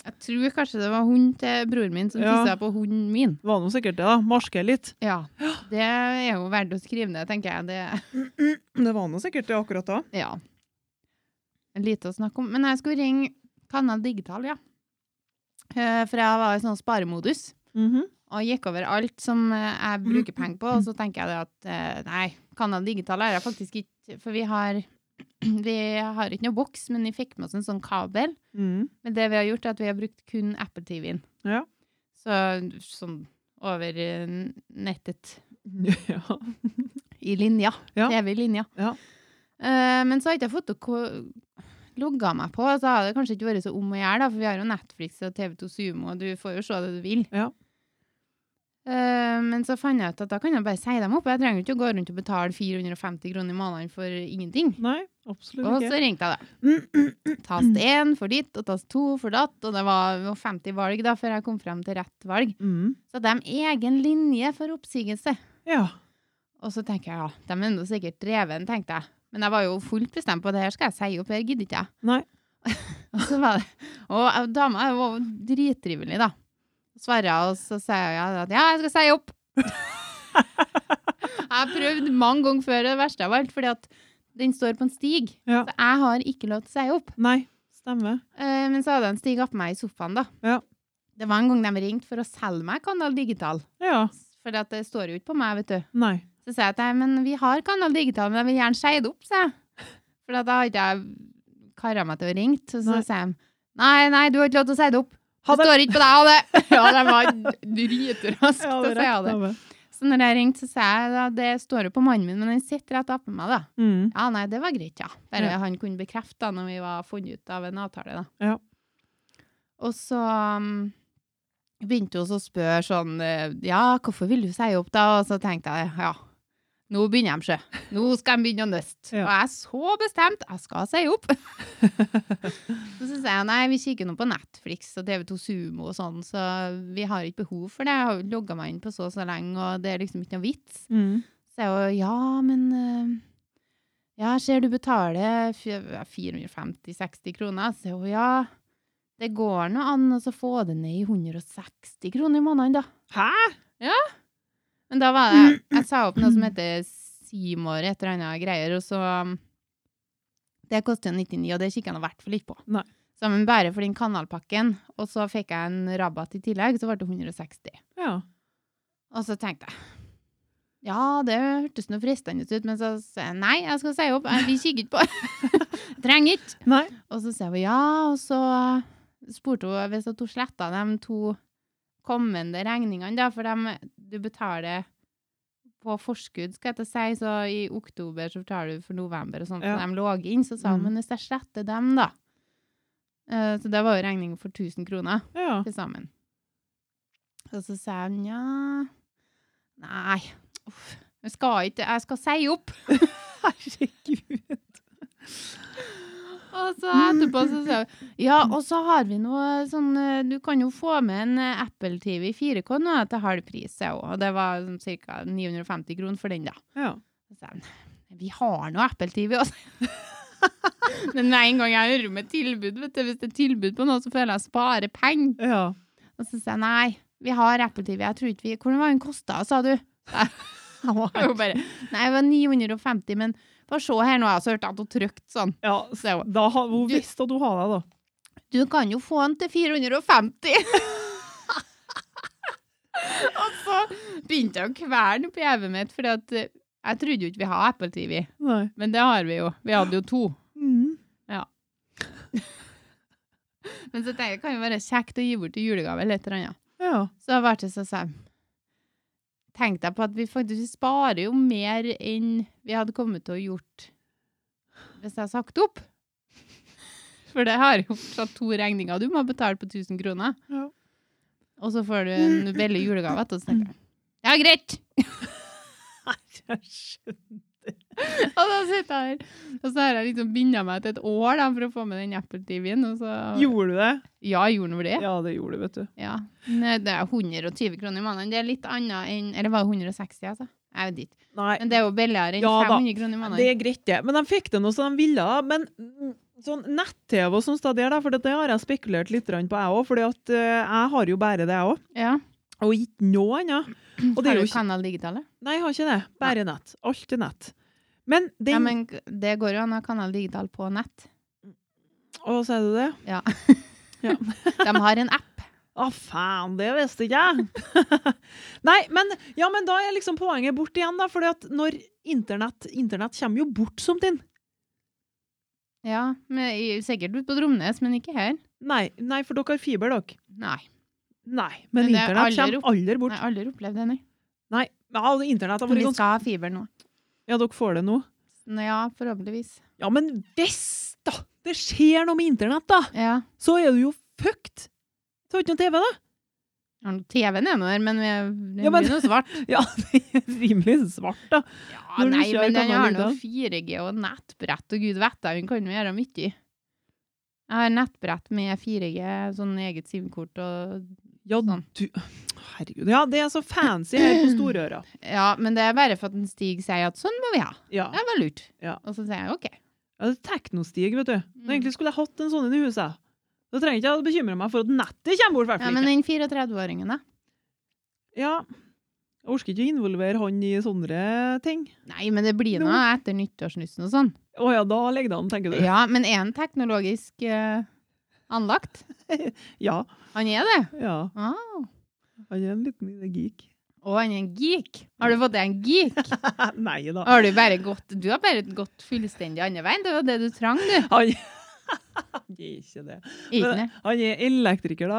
Speaker 1: Jeg tror kanskje det var hund til broren min som
Speaker 2: Ja.
Speaker 1: tissa på hunden min.
Speaker 2: Var nå sikkert det, da. Marske litt.
Speaker 1: Ja. Det er jo verdt å skrive ned, tenker jeg. Det
Speaker 2: Det var nå sikkert det akkurat da.
Speaker 1: Ja. Lite å snakke om. Men jeg skulle ringe Kanal Digital, ja. Eh, For jeg var i sånn sparemodus
Speaker 2: Mhm.
Speaker 1: og gikk over alt som eh, jeg bruker penger på. Og så tenker jeg det at eh, nei, Kanal Digital er jeg faktisk ikke For vi har, *clears throat* vi har ikke noe boks, men vi fikk med oss en sånn kabel.
Speaker 2: mm. *laughs*
Speaker 1: Men det vi har gjort, er at vi har brukt kun Apple TV-en.
Speaker 2: Ja.
Speaker 1: Så sånn over eh, nettet
Speaker 2: ja.
Speaker 1: i linja.
Speaker 2: Ja.
Speaker 1: TV i linja.
Speaker 2: Ja.
Speaker 1: Eh, men så har ikke jeg fått å ko- logga meg på, så har det kanskje ikke vært så om å gjøre, da, for vi har jo Netflix og TV2 Sumo, og du får jo se det du vil.
Speaker 2: Ja.
Speaker 1: Eh, men så fant jeg ut at da kan jeg bare si dem opp. Jeg trenger jo ikke å gå rundt og betale 450 kroner i måneden for ingenting.
Speaker 2: Nei, absolutt
Speaker 1: Og
Speaker 2: ikke.
Speaker 1: så ringte jeg, da. Tast én for ditt, og tast to for datt. Og det var jo 50 valg da, før jeg kom frem til rett valg.
Speaker 2: Mm.
Speaker 1: Så hadde de egen linje for oppsigelse.
Speaker 2: Ja.
Speaker 1: Og så tenker jeg, ja, de er nå sikkert dreven, tenkte jeg. Men jeg var jo fullt bestemt på det her skal jeg si opp, her gidder ikke jeg.
Speaker 2: Nei.
Speaker 1: *laughs* og så var det, og dama var jo drittrivelig, da. Svarer jeg, og så sier jeg at ja, jeg skal si opp. *laughs* jeg har prøvd mange ganger før, og det verste av alt, fordi at den står på en stig.
Speaker 2: Ja.
Speaker 1: Så jeg har ikke lov til å si opp.
Speaker 2: Nei, stemmer.
Speaker 1: Eh, men så hadde en stig opp meg i sofaen, da.
Speaker 2: Ja.
Speaker 1: Det var en gang de ringte for å selge meg Kanal Digital.
Speaker 2: Ja.
Speaker 1: For det står jo ikke på meg, vet du.
Speaker 2: Nei.
Speaker 1: Så sa jeg at nei, men vi har Kanal Digital, men jeg vil gjerne si det opp, sa jeg. For da har ikke jeg kara meg til å ringe. Så så
Speaker 2: Nei.
Speaker 1: sa de nei, nei, du har ikke lov til å si det opp.
Speaker 2: Ha
Speaker 1: Det
Speaker 2: *laughs* det.
Speaker 1: står ikke på deg, ha det! *laughs* Ja, de var dritraske til å si ha det.
Speaker 2: Dave.
Speaker 1: Så når jeg ringte, så sa jeg at det står jo på mannen min, men han sitter rett oppe med meg, da.
Speaker 2: Mm.
Speaker 1: Ja, nei, det var greit, ja. Bare
Speaker 2: Ja.
Speaker 1: han kunne bekrefte da, når vi var funnet ut av en avtale, da.
Speaker 2: Ja.
Speaker 1: Og så um, begynte hun å spørre sånn, eh, ja, hvorfor vil du si opp da? Og så tenkte jeg, ja, nå begynner de seg. Nå skal de begynne å nøste.
Speaker 2: Ja.
Speaker 1: Og jeg er så bestemt, jeg skal si
Speaker 2: *laughs*
Speaker 1: opp. så så sier jeg, nei, vi kikker nå på Netflix og TV2 Sumo og sånn, så vi har ikke behov for det. Jeg har jo logget meg inn på så og så lenge, og det er liksom ikke noe vits.
Speaker 2: Mm.
Speaker 1: Så jeg jo, ja, men eh, Ja, ser du betaler fj- 450-60 kroner. Så jeg jo, ja, det går nå an å så få det ned i 160 kroner i måneden, da.
Speaker 2: Hæ?
Speaker 1: Men da var det Jeg sa opp noe som heter Seymour, et eller annet greier, og så um, Det koster jo 99, og det kikker jeg nå i hvert fall ikke på.
Speaker 2: Nei.
Speaker 1: Så men bare for den kanalpakken, og så fikk jeg en rabatt i tillegg, så ble det 160.
Speaker 2: Ja.
Speaker 1: Og så tenkte jeg ja, det hørtes noe fristende ut, men så sa jeg nei, jeg skal si *laughs* opp. Jeg vil kikke ikke på. Jeg Trenger ikke.
Speaker 2: Nei.
Speaker 1: Og så sa jeg ja, og så spurte hun hvis at hun sletta de to kommende regningene, da, for dem du betaler på forskudd, skal jeg til å si, så i oktober så betaler du for november og sånt,
Speaker 2: Ja.
Speaker 1: så de lå inn, så sa hun,
Speaker 2: Mm.
Speaker 1: men hvis jeg sletter dem da, eh, så det var jo regningen for 1000 kroner
Speaker 2: Ja.
Speaker 1: til sammen. Og så sa hun, ja, nei, uff, jeg skal ikke, jeg skal si opp.
Speaker 2: Herregud.
Speaker 1: Og så etterpå så sa hun Ja, og så har vi noe sånn eh, Du kan jo få med en eh, Apple TV 4K nå til halv pris, sa hun. Og det var sånn ca. 950 kroner for den, da.
Speaker 2: Ja.
Speaker 1: Så sa hun Vi har nå Apple TV, altså. *laughs* Men med en gang jeg hører om et tilbud, vet du, hvis det er tilbud på noe, så føler jeg jeg sparer penger.
Speaker 2: ja.
Speaker 1: Og så sa jeg nei, vi har Apple TV. Jeg tror ikke vi Hvordan var den kosta, sa du? *laughs* Og hun bare Nei, det var 950, men bare se her nå, jeg har hørt at hun trykte sånn.
Speaker 2: ja.
Speaker 1: Så jeg var-
Speaker 2: Da har hun
Speaker 1: Du-
Speaker 2: visst at hun har deg, da.
Speaker 1: Du kan jo få den til 450. *laughs* og så begynte jeg å kverne opp i hodet mitt, for jeg trodde jo ikke vi hadde Apple TV.
Speaker 2: Nei.
Speaker 1: Men det har vi jo. Vi hadde jo to.
Speaker 2: Mm.
Speaker 1: Men så tenkte jeg det kan jo være kjekt å gi bort i julegave eller et eller annet.
Speaker 2: Ja.
Speaker 1: Så jeg ble så sånn Tenkte jeg på at vi faktisk sparer jo mer enn vi hadde kommet til å gjort hvis jeg hadde sagt opp. *laughs* For det har jo fortsatt to regninger du må betale på 1000 kroner.
Speaker 2: Ja.
Speaker 1: Og så får du en veldig julegave etterpå. så tenker jeg, Ja, greit! *laughs*
Speaker 2: Jeg skjønner.
Speaker 1: Og da sitter jeg her. Og så har jeg liksom binda meg til et år da, for å få med den Apple TV-en. Og så
Speaker 2: Gjorde du det?
Speaker 1: Ja, gjorde den vel det?
Speaker 2: Ja, det gjorde du, vet du.
Speaker 1: Ja. Men Det er 120 kroner i måneden. Det er litt annet enn Eller var det 160, altså? Jeg vet ikke.
Speaker 2: Nei.
Speaker 1: Men det er jo billigere enn
Speaker 2: Ja da.
Speaker 1: 500 kroner i
Speaker 2: Det
Speaker 1: måneden.
Speaker 2: er greit, det. Men de fikk det nå som de ville. da. Men mm, sånn nett-TV og sånt, der, da, for det har jeg spekulert litt grann på, jeg òg. For eh, jeg har jo bare det, jeg òg.
Speaker 1: Ja.
Speaker 2: Og ikke
Speaker 1: *clears throat*
Speaker 2: noe annet. Og
Speaker 1: Har
Speaker 2: det er
Speaker 1: du
Speaker 2: jo ikke
Speaker 1: Kanal Digitale?
Speaker 2: Nei, jeg har ikke det. Bare nett. Alt er nett. Men den
Speaker 1: Ja, men det går jo an å ha Kanal Digital på nett.
Speaker 2: Å, sier du det?
Speaker 1: De har en app. *laughs*
Speaker 2: Å, faen, det visste ikke jeg! *laughs* Nei, men, ja, men da er liksom poenget bort igjen, da. For når internett Internett kommer jo bort som din.
Speaker 1: Ja, men, i- sikkert ute på Dromnes, men ikke her.
Speaker 2: Nei, nei for dere har fiber, dere.
Speaker 1: Nei.
Speaker 2: Nei. Men,
Speaker 1: Men det er
Speaker 2: internett
Speaker 1: aldri opp-
Speaker 2: kommer aldri
Speaker 1: Jeg
Speaker 2: bort.
Speaker 1: har aldri opplevd det, nei.
Speaker 2: Nei. Ja, internett har
Speaker 1: Men
Speaker 2: vært
Speaker 1: vi
Speaker 2: ganske
Speaker 1: skal ha fiber nå.
Speaker 2: Ja, dere får det nå.
Speaker 1: Nå, Ja, forhåpentligvis.
Speaker 2: Ja, men hvis da det skjer noe med internett, da,
Speaker 1: Ja.
Speaker 2: så er du jo fucked! Så har du ikke noe TV, da.
Speaker 1: Ja, nå- TV-en er nå her, men vi-
Speaker 2: Ja,
Speaker 1: den
Speaker 2: men-
Speaker 1: blir nå svart.
Speaker 2: *laughs* Ja, det er rimelig svart, da.
Speaker 1: Ja,
Speaker 2: Når du
Speaker 1: nei,
Speaker 2: kjører
Speaker 1: men den
Speaker 2: Kanal
Speaker 1: har
Speaker 2: Digital.
Speaker 1: nå 4G og nettbrett, og gud vet det, hun kan jo gjøre mye. Jeg har nettbrett med 4G, sånn eget SIM-kort og
Speaker 2: Ja,
Speaker 1: Sånn.
Speaker 2: du Herregud. Ja, det er så fancy her
Speaker 1: *clears throat*
Speaker 2: på Storøra.
Speaker 1: Ja, men det er bare for at en Stig sier at sånn må vi ha.
Speaker 2: Ja.
Speaker 1: Det var lurt.
Speaker 2: Ja.
Speaker 1: Og så sier jeg OK.
Speaker 2: ja det er teknostig, vet du.
Speaker 1: Mm.
Speaker 2: Men egentlig skulle jeg hatt en sånn inn i huset. Da trenger ikke jeg å bekymre meg for at nettet kommer bort, i hvert
Speaker 1: Ja,
Speaker 2: fall
Speaker 1: men
Speaker 2: ikke.
Speaker 1: den 34-åringen, da?
Speaker 2: Ja. Jeg orker ikke å involvere han i sånne ting.
Speaker 1: Nei, men det blir noe etter nyttårsnussen og sånn.
Speaker 2: Å ja, da ligger det an, tenker du.
Speaker 1: Ja, men er han teknologisk eh, anlagt?
Speaker 2: Ja.
Speaker 1: Han er det.
Speaker 2: ja.
Speaker 1: Ah.
Speaker 2: Han er en liten geek.
Speaker 1: Og han er en geek. Har du fått deg en geek?
Speaker 2: Eh, Nei da.
Speaker 1: Har du bare gått Du har bare gått fullstendig andre veien. Det var det du trang, du.
Speaker 2: Han *laughs* Han er ikke det.
Speaker 1: Ikke det?
Speaker 2: Han er elektriker, da.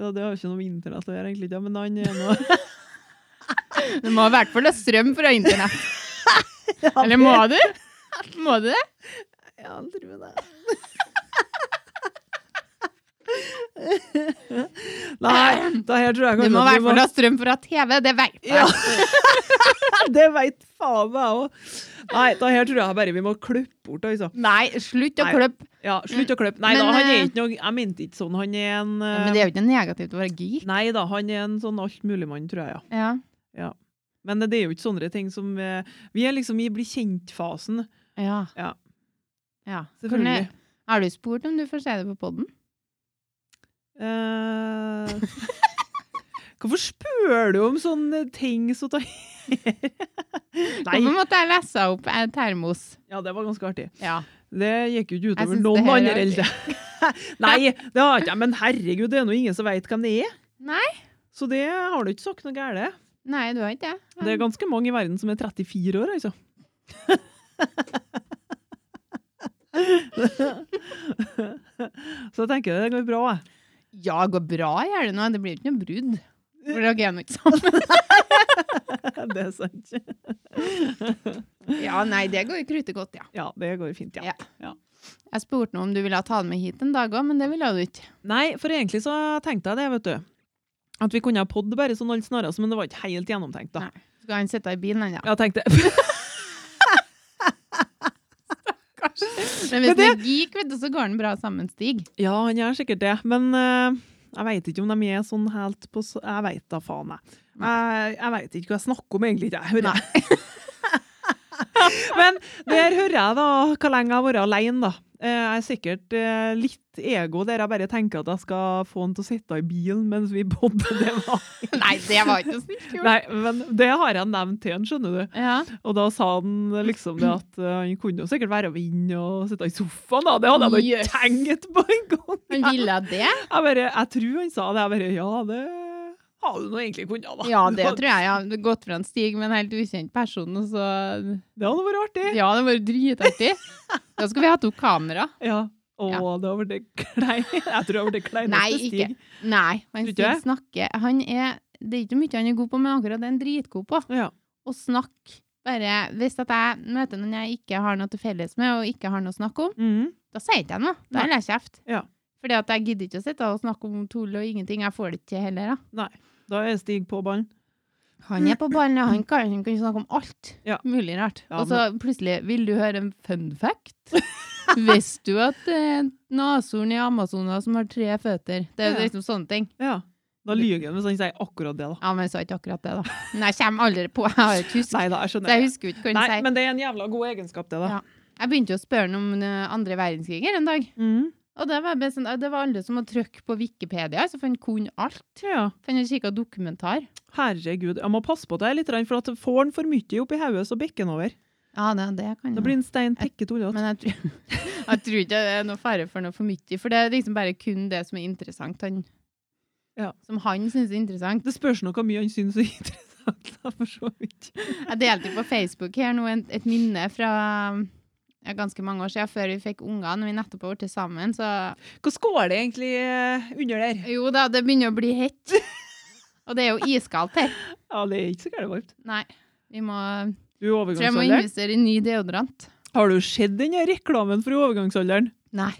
Speaker 2: Ja, det har jo ikke noe med internett å gjøre, egentlig, ikke, men han er
Speaker 1: *laughs*
Speaker 2: nå
Speaker 1: Du må i hvert fall ha strøm fra internett.
Speaker 2: *laughs*
Speaker 1: Eller må du? Må du det?
Speaker 2: Ja, han tror det. *laughs* Nei, det her tror
Speaker 1: Du
Speaker 2: jeg kanskje
Speaker 1: må i
Speaker 2: at vi
Speaker 1: hvert fall ha strøm fra TV. Det vet
Speaker 2: Ja.
Speaker 1: jeg.
Speaker 2: Det veit faen meg òg. Nei, det her tror jeg bare vi må klippe bort, altså.
Speaker 1: Nei, slutt å
Speaker 2: Nei.
Speaker 1: klippe.
Speaker 2: Ja, slutt å klippe. Nei
Speaker 1: Men,
Speaker 2: da, han er
Speaker 1: eh,
Speaker 2: ikke noe Jeg mente ikke sånn. Han er en
Speaker 1: Ja, men det er jo ikke negativt å være geek.
Speaker 2: eh, Nei da, han er en sånn altmuligmann, tror jeg, ja.
Speaker 1: Ja.
Speaker 2: Men eh, det er jo ikke sånne ting som eh, Vi er liksom i bli kjent-fasen.
Speaker 1: Ja.
Speaker 2: Ja.
Speaker 1: Ja.
Speaker 2: Selvfølgelig.
Speaker 1: Hvordan- Har du spurt om du får se det på podden?
Speaker 2: Eh, *laughs* Hvorfor spør du om sånne ting så ta *laughs* Nei.
Speaker 1: Hvorfor måtte jeg lese opp en termos?
Speaker 2: Ja, det var ganske artig.
Speaker 1: Ja.
Speaker 2: Det gikk jo ikke
Speaker 1: Jeg
Speaker 2: utover
Speaker 1: synes det
Speaker 2: noen
Speaker 1: her er
Speaker 2: andre eldre. *laughs* Nei, det har ikke jeg. Men herregud, det er nå ingen som veit hvem det er.
Speaker 1: Nei.
Speaker 2: Så det har du ikke sagt noe galt.
Speaker 1: Nei, du har ikke det?
Speaker 2: Det er ganske mange i verden som er 34 år, altså. *laughs* Så jeg tenker det går bra. jeg.
Speaker 1: Ja, går Eh. bra, gjør det nå. Det blir jo ikke noe brudd. For dere er nå ikke sammen.
Speaker 2: *laughs* Det er sant.
Speaker 1: *laughs* Ja, nei, det går jo kruttet godt, ja.
Speaker 2: Ja, det går fint, ja.
Speaker 1: Ja. Jeg spurte nå om du ville ta den med hit en dag òg, men det ville du ikke.
Speaker 2: Nei, for egentlig så tenkte jeg det, vet du. At vi kunne ha podd bare sånn alt snarest, men det var ikke helt gjennomtenkt da.
Speaker 1: Nei. Skal han sitte i bilen, *laughs* han, da?
Speaker 2: Jeg tenkte, *laughs*
Speaker 1: Men hvis
Speaker 2: Men det-
Speaker 1: det gikk, vet du, så går den bra sammen, Stig.
Speaker 2: ja, han gjør sikkert det, men eh, jeg vet ikke om de er sånn helt på, s- jeg vet da faen jeg. Jeg, jeg vet ikke hva jeg snakker om egentlig, ikke jeg hører. *laughs* men der hører jeg da hvor lenge jeg har vært alene da. Eh, Jeg er sikkert eh, litt ego der jeg bare tenker at jeg skal få han til å sitte i bilen mens vi podder det var.
Speaker 1: *laughs* Nei, det var ikke snilt gjort.
Speaker 2: Nei, men det har jeg nevnt til han, skjønner du.
Speaker 1: Ja.
Speaker 2: Og da sa han liksom det at eh, han kunne jo sikkert være og vinne og sitte i sofaen, da. Det hadde jeg da
Speaker 1: Yes.
Speaker 2: ikke tenkt på engang.
Speaker 1: Han ville det?
Speaker 2: Jeg bare, jeg tror han sa det. Jeg bare, ja, det har du nå egentlig kunnet, da.
Speaker 1: Ja, det tror jeg. Jeg har gått fra en Stig med en helt ukjent person, og så
Speaker 2: Det hadde vært artig.
Speaker 1: Ja, det var dritartig. Da skulle vi hatt opp kamera.
Speaker 2: Ja. Å,
Speaker 1: Ja.
Speaker 2: det *laughs* har vært klein. Jeg tror det har vært kleineste
Speaker 1: Nei, ikke.
Speaker 2: stig.
Speaker 1: Nei, han
Speaker 2: Tror du
Speaker 1: Stig
Speaker 2: ikke?
Speaker 1: snakker Han er Det er ikke mye han er god på, men akkurat det er han dritgod på.
Speaker 2: Ja.
Speaker 1: Å snakke. Bare hvis at jeg møter noen jeg ikke har noe til felles med, og ikke har noe å snakke om,
Speaker 2: Mhm.
Speaker 1: da sier ikke jeg noe. Da holder jeg kjeft.
Speaker 2: Ja.
Speaker 1: Fordi at jeg gidder ikke å sitte og snakke om tull og ingenting. Jeg får det ikke til heller, da.
Speaker 2: Da er Stig på ballen.
Speaker 1: Han er på ballen, ja. han kan, han kan snakke om alt
Speaker 2: Mm. Ja.
Speaker 1: mulig rart.
Speaker 2: Ja,
Speaker 1: og så plutselig Vil du høre en fun fact? *laughs* Visste du at det er en nashorn i Amazonas som har tre føtter? Det er
Speaker 2: Ja.
Speaker 1: jo liksom sånne ting.
Speaker 2: Ja. Da lyver han hvis han sier akkurat det, da.
Speaker 1: Ja, men jeg sa ikke akkurat det, da. Men jeg kommer aldri på. Jeg har ikke husket.
Speaker 2: Nei da, jeg
Speaker 1: Så jeg
Speaker 2: skjønner. det.
Speaker 1: husker jo ikke hva han
Speaker 2: Nei,
Speaker 1: sier.
Speaker 2: men det er en jævla god egenskap, det, da.
Speaker 1: Ja. Jeg begynte jo å spørre han om eh, andre verdenskrig her en dag.
Speaker 2: Mhm.
Speaker 1: Og det var, bare sånn, eh, det var alle som hadde trykk på Wikipedia, så for han kunne alt.
Speaker 2: ja.
Speaker 1: For han hadde kikket dokumentar.
Speaker 2: Herregud, jeg må passe på det litt, for at får han for mye oppi hodet, så bikker han over.
Speaker 1: Ja, det, det kan
Speaker 2: Da
Speaker 1: jo-
Speaker 2: blir en stein tikket ullete.
Speaker 1: Men jeg tror, *laughs* jeg tror ikke det er noe fare for noe for mye, for det er liksom bare kun det som er interessant, han.
Speaker 2: Ja.
Speaker 1: Som han synes er interessant.
Speaker 2: Det spørs nå hvor mye han syns er interessant, da, for så vidt.
Speaker 1: Jeg delte på Facebook her nå en, et minne fra ja, ganske mange år siden, før vi fikk unger, når vi nettopp har vært til sammen, så
Speaker 2: Hva skåler det egentlig eh, under der?
Speaker 1: jo da, det begynner å bli hett. *laughs* Og det er jo iskaldt her.
Speaker 2: Ja, det er ikke så gærent varmt.
Speaker 1: Nei, vi må,
Speaker 2: Du er i
Speaker 1: tror jeg må
Speaker 2: overgangsalderen.
Speaker 1: investere i ny deodorant.
Speaker 2: Har du sett den der reklamen for overgangsalderen?
Speaker 1: Nei.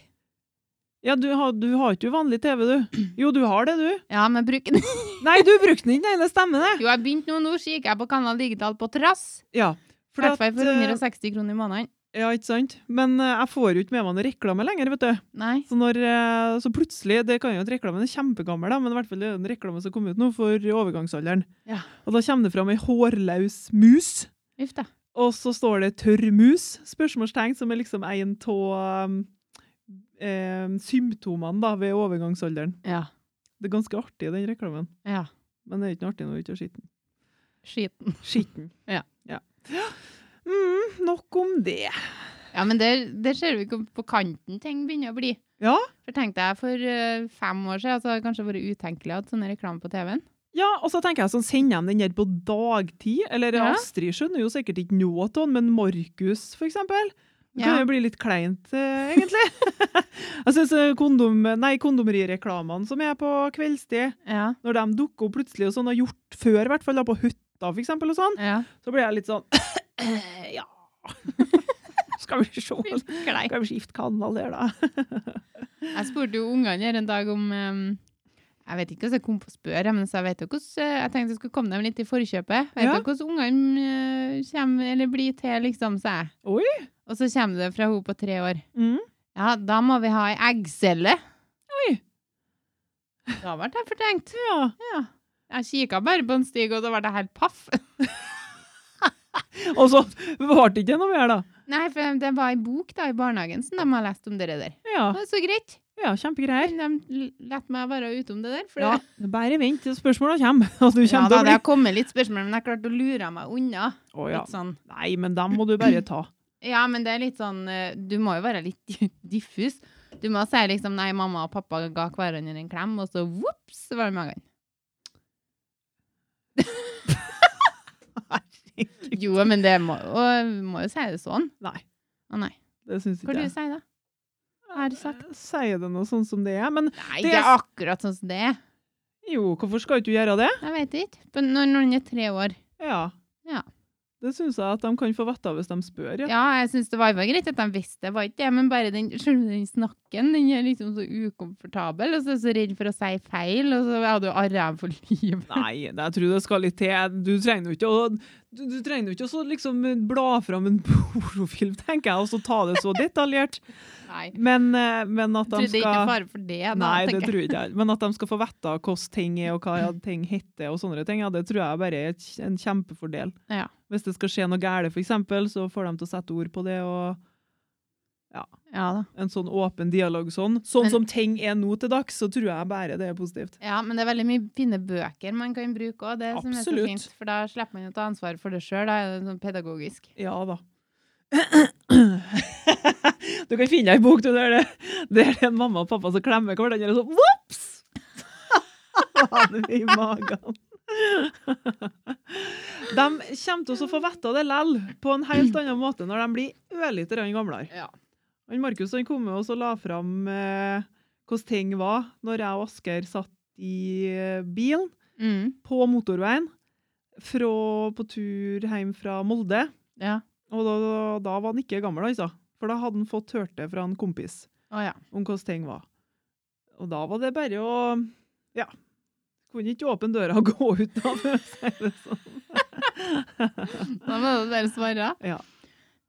Speaker 2: Ja, du har, du har ikke vanlig TV,
Speaker 1: *clears throat*
Speaker 2: du. Jo, du har det, du.
Speaker 1: Ja, men bruk den.
Speaker 2: Nei, du brukte den ikke, nei, det stemmer, det.
Speaker 1: Jo, jeg begynte nå, nå kikker jeg på Kanal Digital på trass.
Speaker 2: Ja.
Speaker 1: I
Speaker 2: For
Speaker 1: hvert fall
Speaker 2: at,
Speaker 1: for
Speaker 2: eh,
Speaker 1: 160 kroner i måneden.
Speaker 2: ja, ikke sant? Men eh, jeg får jo ikke med meg noe reklame lenger, vet du.
Speaker 1: Nei.
Speaker 2: Så, når, eh, så plutselig, det kan jo at reklamen er kjempegammel, da, men i hvert fall det er en reklame som kom ut nå for overgangsalderen.
Speaker 1: Ja.
Speaker 2: Og da kommer det fram ei hårløs mus,
Speaker 1: Uff da.
Speaker 2: og så står det 'tørr mus'? Spørsmålstegn, som er liksom en av um, eh, symptomene da, ved overgangsalderen.
Speaker 1: Ja.
Speaker 2: Det er ganske artig, den reklamen.
Speaker 1: Ja.
Speaker 2: Men det er ikke noe artig når du ikke har skitten.
Speaker 1: Skiten.
Speaker 2: Skitten.
Speaker 1: Ja.
Speaker 2: ja. Mm, nok om det.
Speaker 1: Ja, men der, der ser vi ikke på kanten ting begynner å bli.
Speaker 2: Ja.
Speaker 1: For tenkte jeg for eh, fem år siden, så hadde det kanskje vært utenkelig at sånne reklame på TV-en.
Speaker 2: Ja, og så tenker jeg sånn, sender de den der på dagtid? Eller
Speaker 1: Ja.
Speaker 2: Astrid skjønner jo sikkert ikke noe av den, men Markus, for eksempel? Det kan
Speaker 1: Ja.
Speaker 2: jo bli litt kleint, eh, egentlig. *laughs* jeg syns kondom, nei, kondomerireklamene som er på kveldstid,
Speaker 1: Ja.
Speaker 2: når de dukker opp plutselig, og sånn har gjort før, i hvert fall da på hytta, for eksempel, og sånn,
Speaker 1: *clears throat* Ja.
Speaker 2: så blir jeg litt sånn *clears throat* Ja. Skal
Speaker 1: *laughs*
Speaker 2: vi se
Speaker 1: Jeg
Speaker 2: Skal vi skifte kanal der, da? *laughs*
Speaker 1: spurte jo ungene her en dag om eh, Jeg vet ikke hvordan jeg kom på å spørre, men så jeg, vet jo hvordan, eh, jeg tenkte jeg skulle komme dem litt i forkjøpet. Vet
Speaker 2: Ja.
Speaker 1: du hvordan ungene eh, kommer, eller blir til, liksom, sa jeg.
Speaker 2: Oi.
Speaker 1: Og så kommer det fra hun på tre år.
Speaker 2: Mm.
Speaker 1: Ja, da må vi ha ei eggcelle.
Speaker 2: Oi.
Speaker 1: Da ble jeg fortenkt.
Speaker 2: Ja.
Speaker 1: Ja. Jeg kikka bare på en stig, og da ble jeg helt paff. *laughs*
Speaker 2: Og så varte det ikke noe mer, da.
Speaker 1: Nei, for det var ei bok da i barnehagen som de har lest om det der.
Speaker 2: Ja,
Speaker 1: Det var så greit.
Speaker 2: ja kjempegreier.
Speaker 1: De lot meg være ute om det der. For
Speaker 2: Ja,
Speaker 1: det,
Speaker 2: bare vent til spørsmålene kommer. *laughs* Og du
Speaker 1: ja, da
Speaker 2: kommer til å
Speaker 1: hadde
Speaker 2: bli
Speaker 1: jeg kommet litt spørsmål, men jeg klarte å lure meg unna.
Speaker 2: Å, ja.
Speaker 1: Litt sånn.
Speaker 2: Nei, men dem må du bare ta.
Speaker 1: Ja, men det er litt sånn eh, Du må jo være litt diffus. Du må si liksom nei, mamma og pappa ga hverandre en klem, og så vops, så var det magen. Jo, men det må, og, vi må jo si det sånn.
Speaker 2: Nei.
Speaker 1: Å nei.
Speaker 2: Det syns
Speaker 1: Hva du
Speaker 2: ikke jeg.
Speaker 1: sier da? har du sagt?
Speaker 2: Jeg Sier det noe sånn som det er? Men
Speaker 1: Nei, det
Speaker 2: Det er
Speaker 1: er
Speaker 2: s-
Speaker 1: akkurat sånn som det er.
Speaker 2: jo, hvorfor skal ikke du gjøre det?
Speaker 1: Jeg vet ikke. Men Når noen er tre år.
Speaker 2: Ja.
Speaker 1: Ja.
Speaker 2: Det syns jeg at de kan få vite av hvis de spør. Ja.
Speaker 1: Ja, jeg syns det var, var greit at de visste det, var ikke det, men bare den, selve den snakken, den er liksom så ukomfortabel, og så er jeg så redd for å si feil, og så hadde du arra for livet.
Speaker 2: Nei, det- jeg tror det skal litt til. Du trenger jo ikke å, du, du trenger jo ikke å så liksom bla fram en *laughs* pornofilm, tenker jeg, og så ta det så detaljert.
Speaker 1: Nei.
Speaker 2: Men, eh, men
Speaker 1: Jeg
Speaker 2: at de
Speaker 1: trodde ikke
Speaker 2: skal
Speaker 1: fare for det, da.
Speaker 2: Nei, det
Speaker 1: tenker jeg.
Speaker 2: tror jeg ikke jeg. Men at de skal få vite hvordan ting er, og hva ja, ting heter, og sånne ting, ja, det tror jeg bare er et kj- en kjempefordel.
Speaker 1: Ja.
Speaker 2: Hvis det skal skje noe galt, for eksempel, så får de til å sette ord på det, og
Speaker 1: Ja da.
Speaker 2: en sånn åpen dialog sånn. Sånn
Speaker 1: Men-
Speaker 2: som ting er nå til dags, så tror jeg bare det er positivt.
Speaker 1: Ja, men det er veldig mye fine bøker man kan bruke òg, det som er så
Speaker 2: Absolutt.
Speaker 1: fint. For da slipper man å ta ansvar for det sjøl, da er det sånn pedagogisk.
Speaker 2: Ja
Speaker 1: *coughs*
Speaker 2: da. du kan finne ei bok du, der det der det er en mamma og pappa som klemmer hverandre og sånn *laughs* Vops! Faen i magen. de kommer til å få vite det lell på en helt annen måte når de blir ørlite grann gamlere.
Speaker 1: Ja.
Speaker 2: Han Markus han kom med oss og la fram eh, hvordan ting var når jeg og Asker satt i eh, bilen
Speaker 1: Mm.
Speaker 2: på motorveien fra, på tur hjem fra Molde.
Speaker 1: Ja.
Speaker 2: Og da, da var han ikke gammel, altså. For da hadde han fått hørt det fra en kompis
Speaker 1: Å ja.
Speaker 2: om hvordan ting var. Og da var det bare å Ja. Kunne ikke åpne døra og *laughs* gå ut, da, for å si det sånn.
Speaker 1: Da må du bare svare.
Speaker 2: Ja.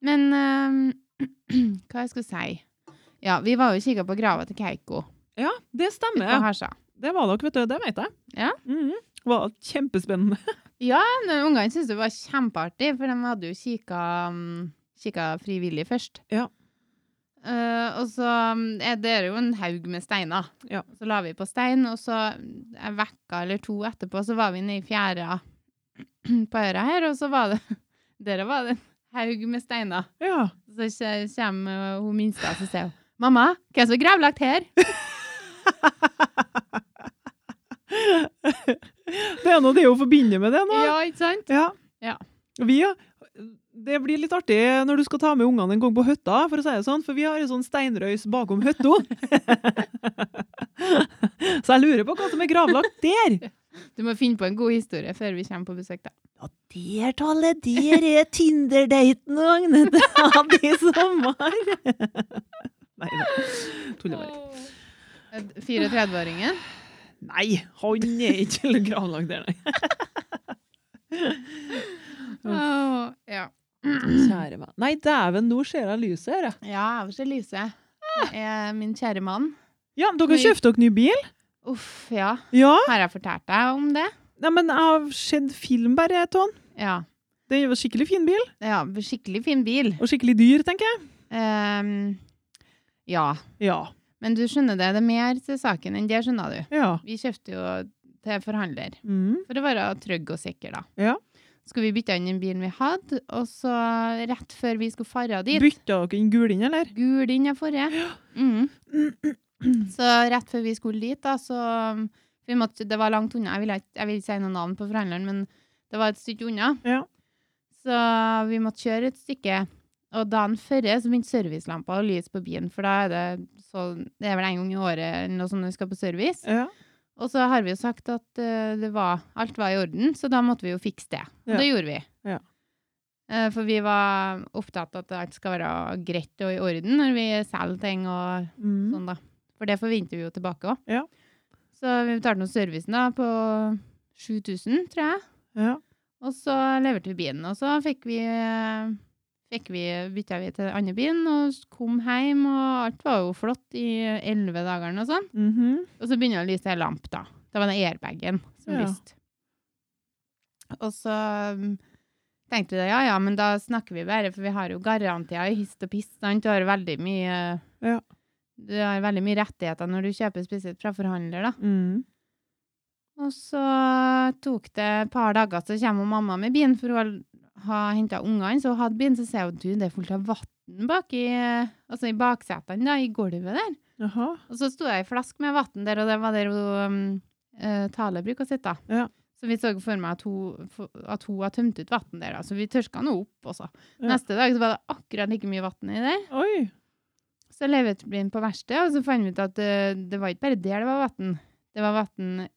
Speaker 1: Men ehm, *clears throat* hva jeg skal si? Ja, vi var jo og kikka på grava til Keiko
Speaker 2: Ja, det
Speaker 1: ute
Speaker 2: stemmer.
Speaker 1: på Harsa.
Speaker 2: Det var dere, vet du. Det vet jeg.
Speaker 1: Ja.
Speaker 2: Mhm. Det var kjempespennende. *laughs*
Speaker 1: Men Ungene syntes det var kjempeartig, for de hadde jo kikka, mm, kikka frivillig først.
Speaker 2: Ja.
Speaker 1: Eh, og så mm, er det er jo en haug med steiner.
Speaker 2: Ja.
Speaker 1: Så la vi på stein, og så mm, en vekka eller to etterpå så var vi nede i fjæra *clears throat* på øra her, og så var det *laughs* Der var det en haug med steiner.
Speaker 2: Ja.
Speaker 1: Så kje- kommer eh, hun minste og så sier hun, 'Mamma, hva er det som er gravlagt her?'
Speaker 2: Det er nå det hun forbinder med det nå.
Speaker 1: Ja, ikke sant?
Speaker 2: *laughs* Ja.
Speaker 1: Ja.
Speaker 2: Vi, det blir litt artig når du skal ta med ungene en gang på høtta, for å si det sånn, for vi har en sånn steinrøys bakom høtta. *laughs* Så jeg lurer på hva som er gravlagt der.
Speaker 1: Du må finne på en god historie før vi kommer på besøk, da.
Speaker 2: Ja, der tallet, der er Tinder-daten og *laughs* Agnete hadde i sommer. *laughs* Nei da, tuller bare.
Speaker 1: Eh, 34-åringen?
Speaker 2: Nei, han er ikke gravlagt der, nei.
Speaker 1: Åh, ja.
Speaker 2: Kjære meg. Nei, dæven, nå ser jeg lyset her, jeg.
Speaker 1: Ja, jeg ser lyset. Det er min kjære mann.
Speaker 2: Ja, dere kjøpte dere ny bil?
Speaker 1: Uff, ja.
Speaker 2: Ja.
Speaker 1: Har jeg fortalt deg om det?
Speaker 2: Nei, men jeg har sett film bare, Tån.
Speaker 1: Ja.
Speaker 2: Det er jo en skikkelig fin bil,
Speaker 1: ja skikkelig fin bil.
Speaker 2: og skikkelig dyr, tenker jeg.
Speaker 1: Ehm, ja.
Speaker 2: Ja.
Speaker 1: Men du skjønner det, det er mer til saken enn det, skjønner du.
Speaker 2: Ja.
Speaker 1: Vi kjøpte jo til forhandler.
Speaker 2: Mm.
Speaker 1: For å være trygg og sikker, da.
Speaker 2: Ja.
Speaker 1: Skulle vi bytte inn den bilen vi hadde, og så rett før vi skulle fare dit
Speaker 2: Bytta dere inn gul inn, eller?
Speaker 1: Gul inn jeg forrige. Mm. Så rett før vi skulle dit, da, så um, vi måtte, Det var langt unna. Jeg vil ikke jeg vil ikke si noe navn på forhandleren, men det var et stykke unna.
Speaker 2: Ja.
Speaker 1: Så vi måtte kjøre et stykke. Og dagen før så begynte servicelampa å lyse på bilen, for da er det så, Det er vel en gang i året eller noe sånt når vi skal på service.
Speaker 2: Ja.
Speaker 1: Og så har vi jo sagt at eh, det var, alt var i orden, så da måtte vi jo fikse det. Og
Speaker 2: Ja.
Speaker 1: det gjorde vi.
Speaker 2: Ja.
Speaker 1: Eh, for vi var opptatt av at alt skal være greit og i orden når vi selger ting og
Speaker 2: Mm.
Speaker 1: sånn, da. For det forventer vi jo tilbake òg.
Speaker 2: Ja.
Speaker 1: Så vi betalte nå servicen da på 7000, tror jeg.
Speaker 2: ja.
Speaker 1: Og så leverte vi bilen, og så fikk vi, eh, fikk vi bytta vi til den andre bilen og kom hjem, og alt var jo flott i elleve dager og sånn.
Speaker 2: Mhm.
Speaker 1: Og så begynner det å lyse ei lamp, da. Det var den airbagen som
Speaker 2: Ja.
Speaker 1: lyste. Og så mm, tenkte vi da, ja ja, men da snakker vi bare, for vi har jo garantier i hist og pist. Sant? Du har jo veldig mye
Speaker 2: Ja.
Speaker 1: Du har veldig mye rettigheter når du kjøper spesielt fra forhandler, da.
Speaker 2: Mm.
Speaker 1: Og så tok det et par dager, så kommer mamma med bilen, for hun har henta ungene. Så hun hadde bilen, så sier hun du, det er fullt av vann bak i, altså i baksetene, da, i gulvet der.
Speaker 2: Jaha.
Speaker 1: Og så sto jeg i flask med vann der, og det var der hun um, eh, Tale bruker å sitte.
Speaker 2: Ja.
Speaker 1: Så vi så for meg at hun, for- at hun har tømt ut vann der, da. så vi tørska nå opp også.
Speaker 2: Ja.
Speaker 1: Neste dag så var det akkurat like mye vann i det.
Speaker 2: Oi.
Speaker 1: Så leverte vi den på verkstedet, og så fant vi ut at eh, det var ikke bare der det var vann. Det var vann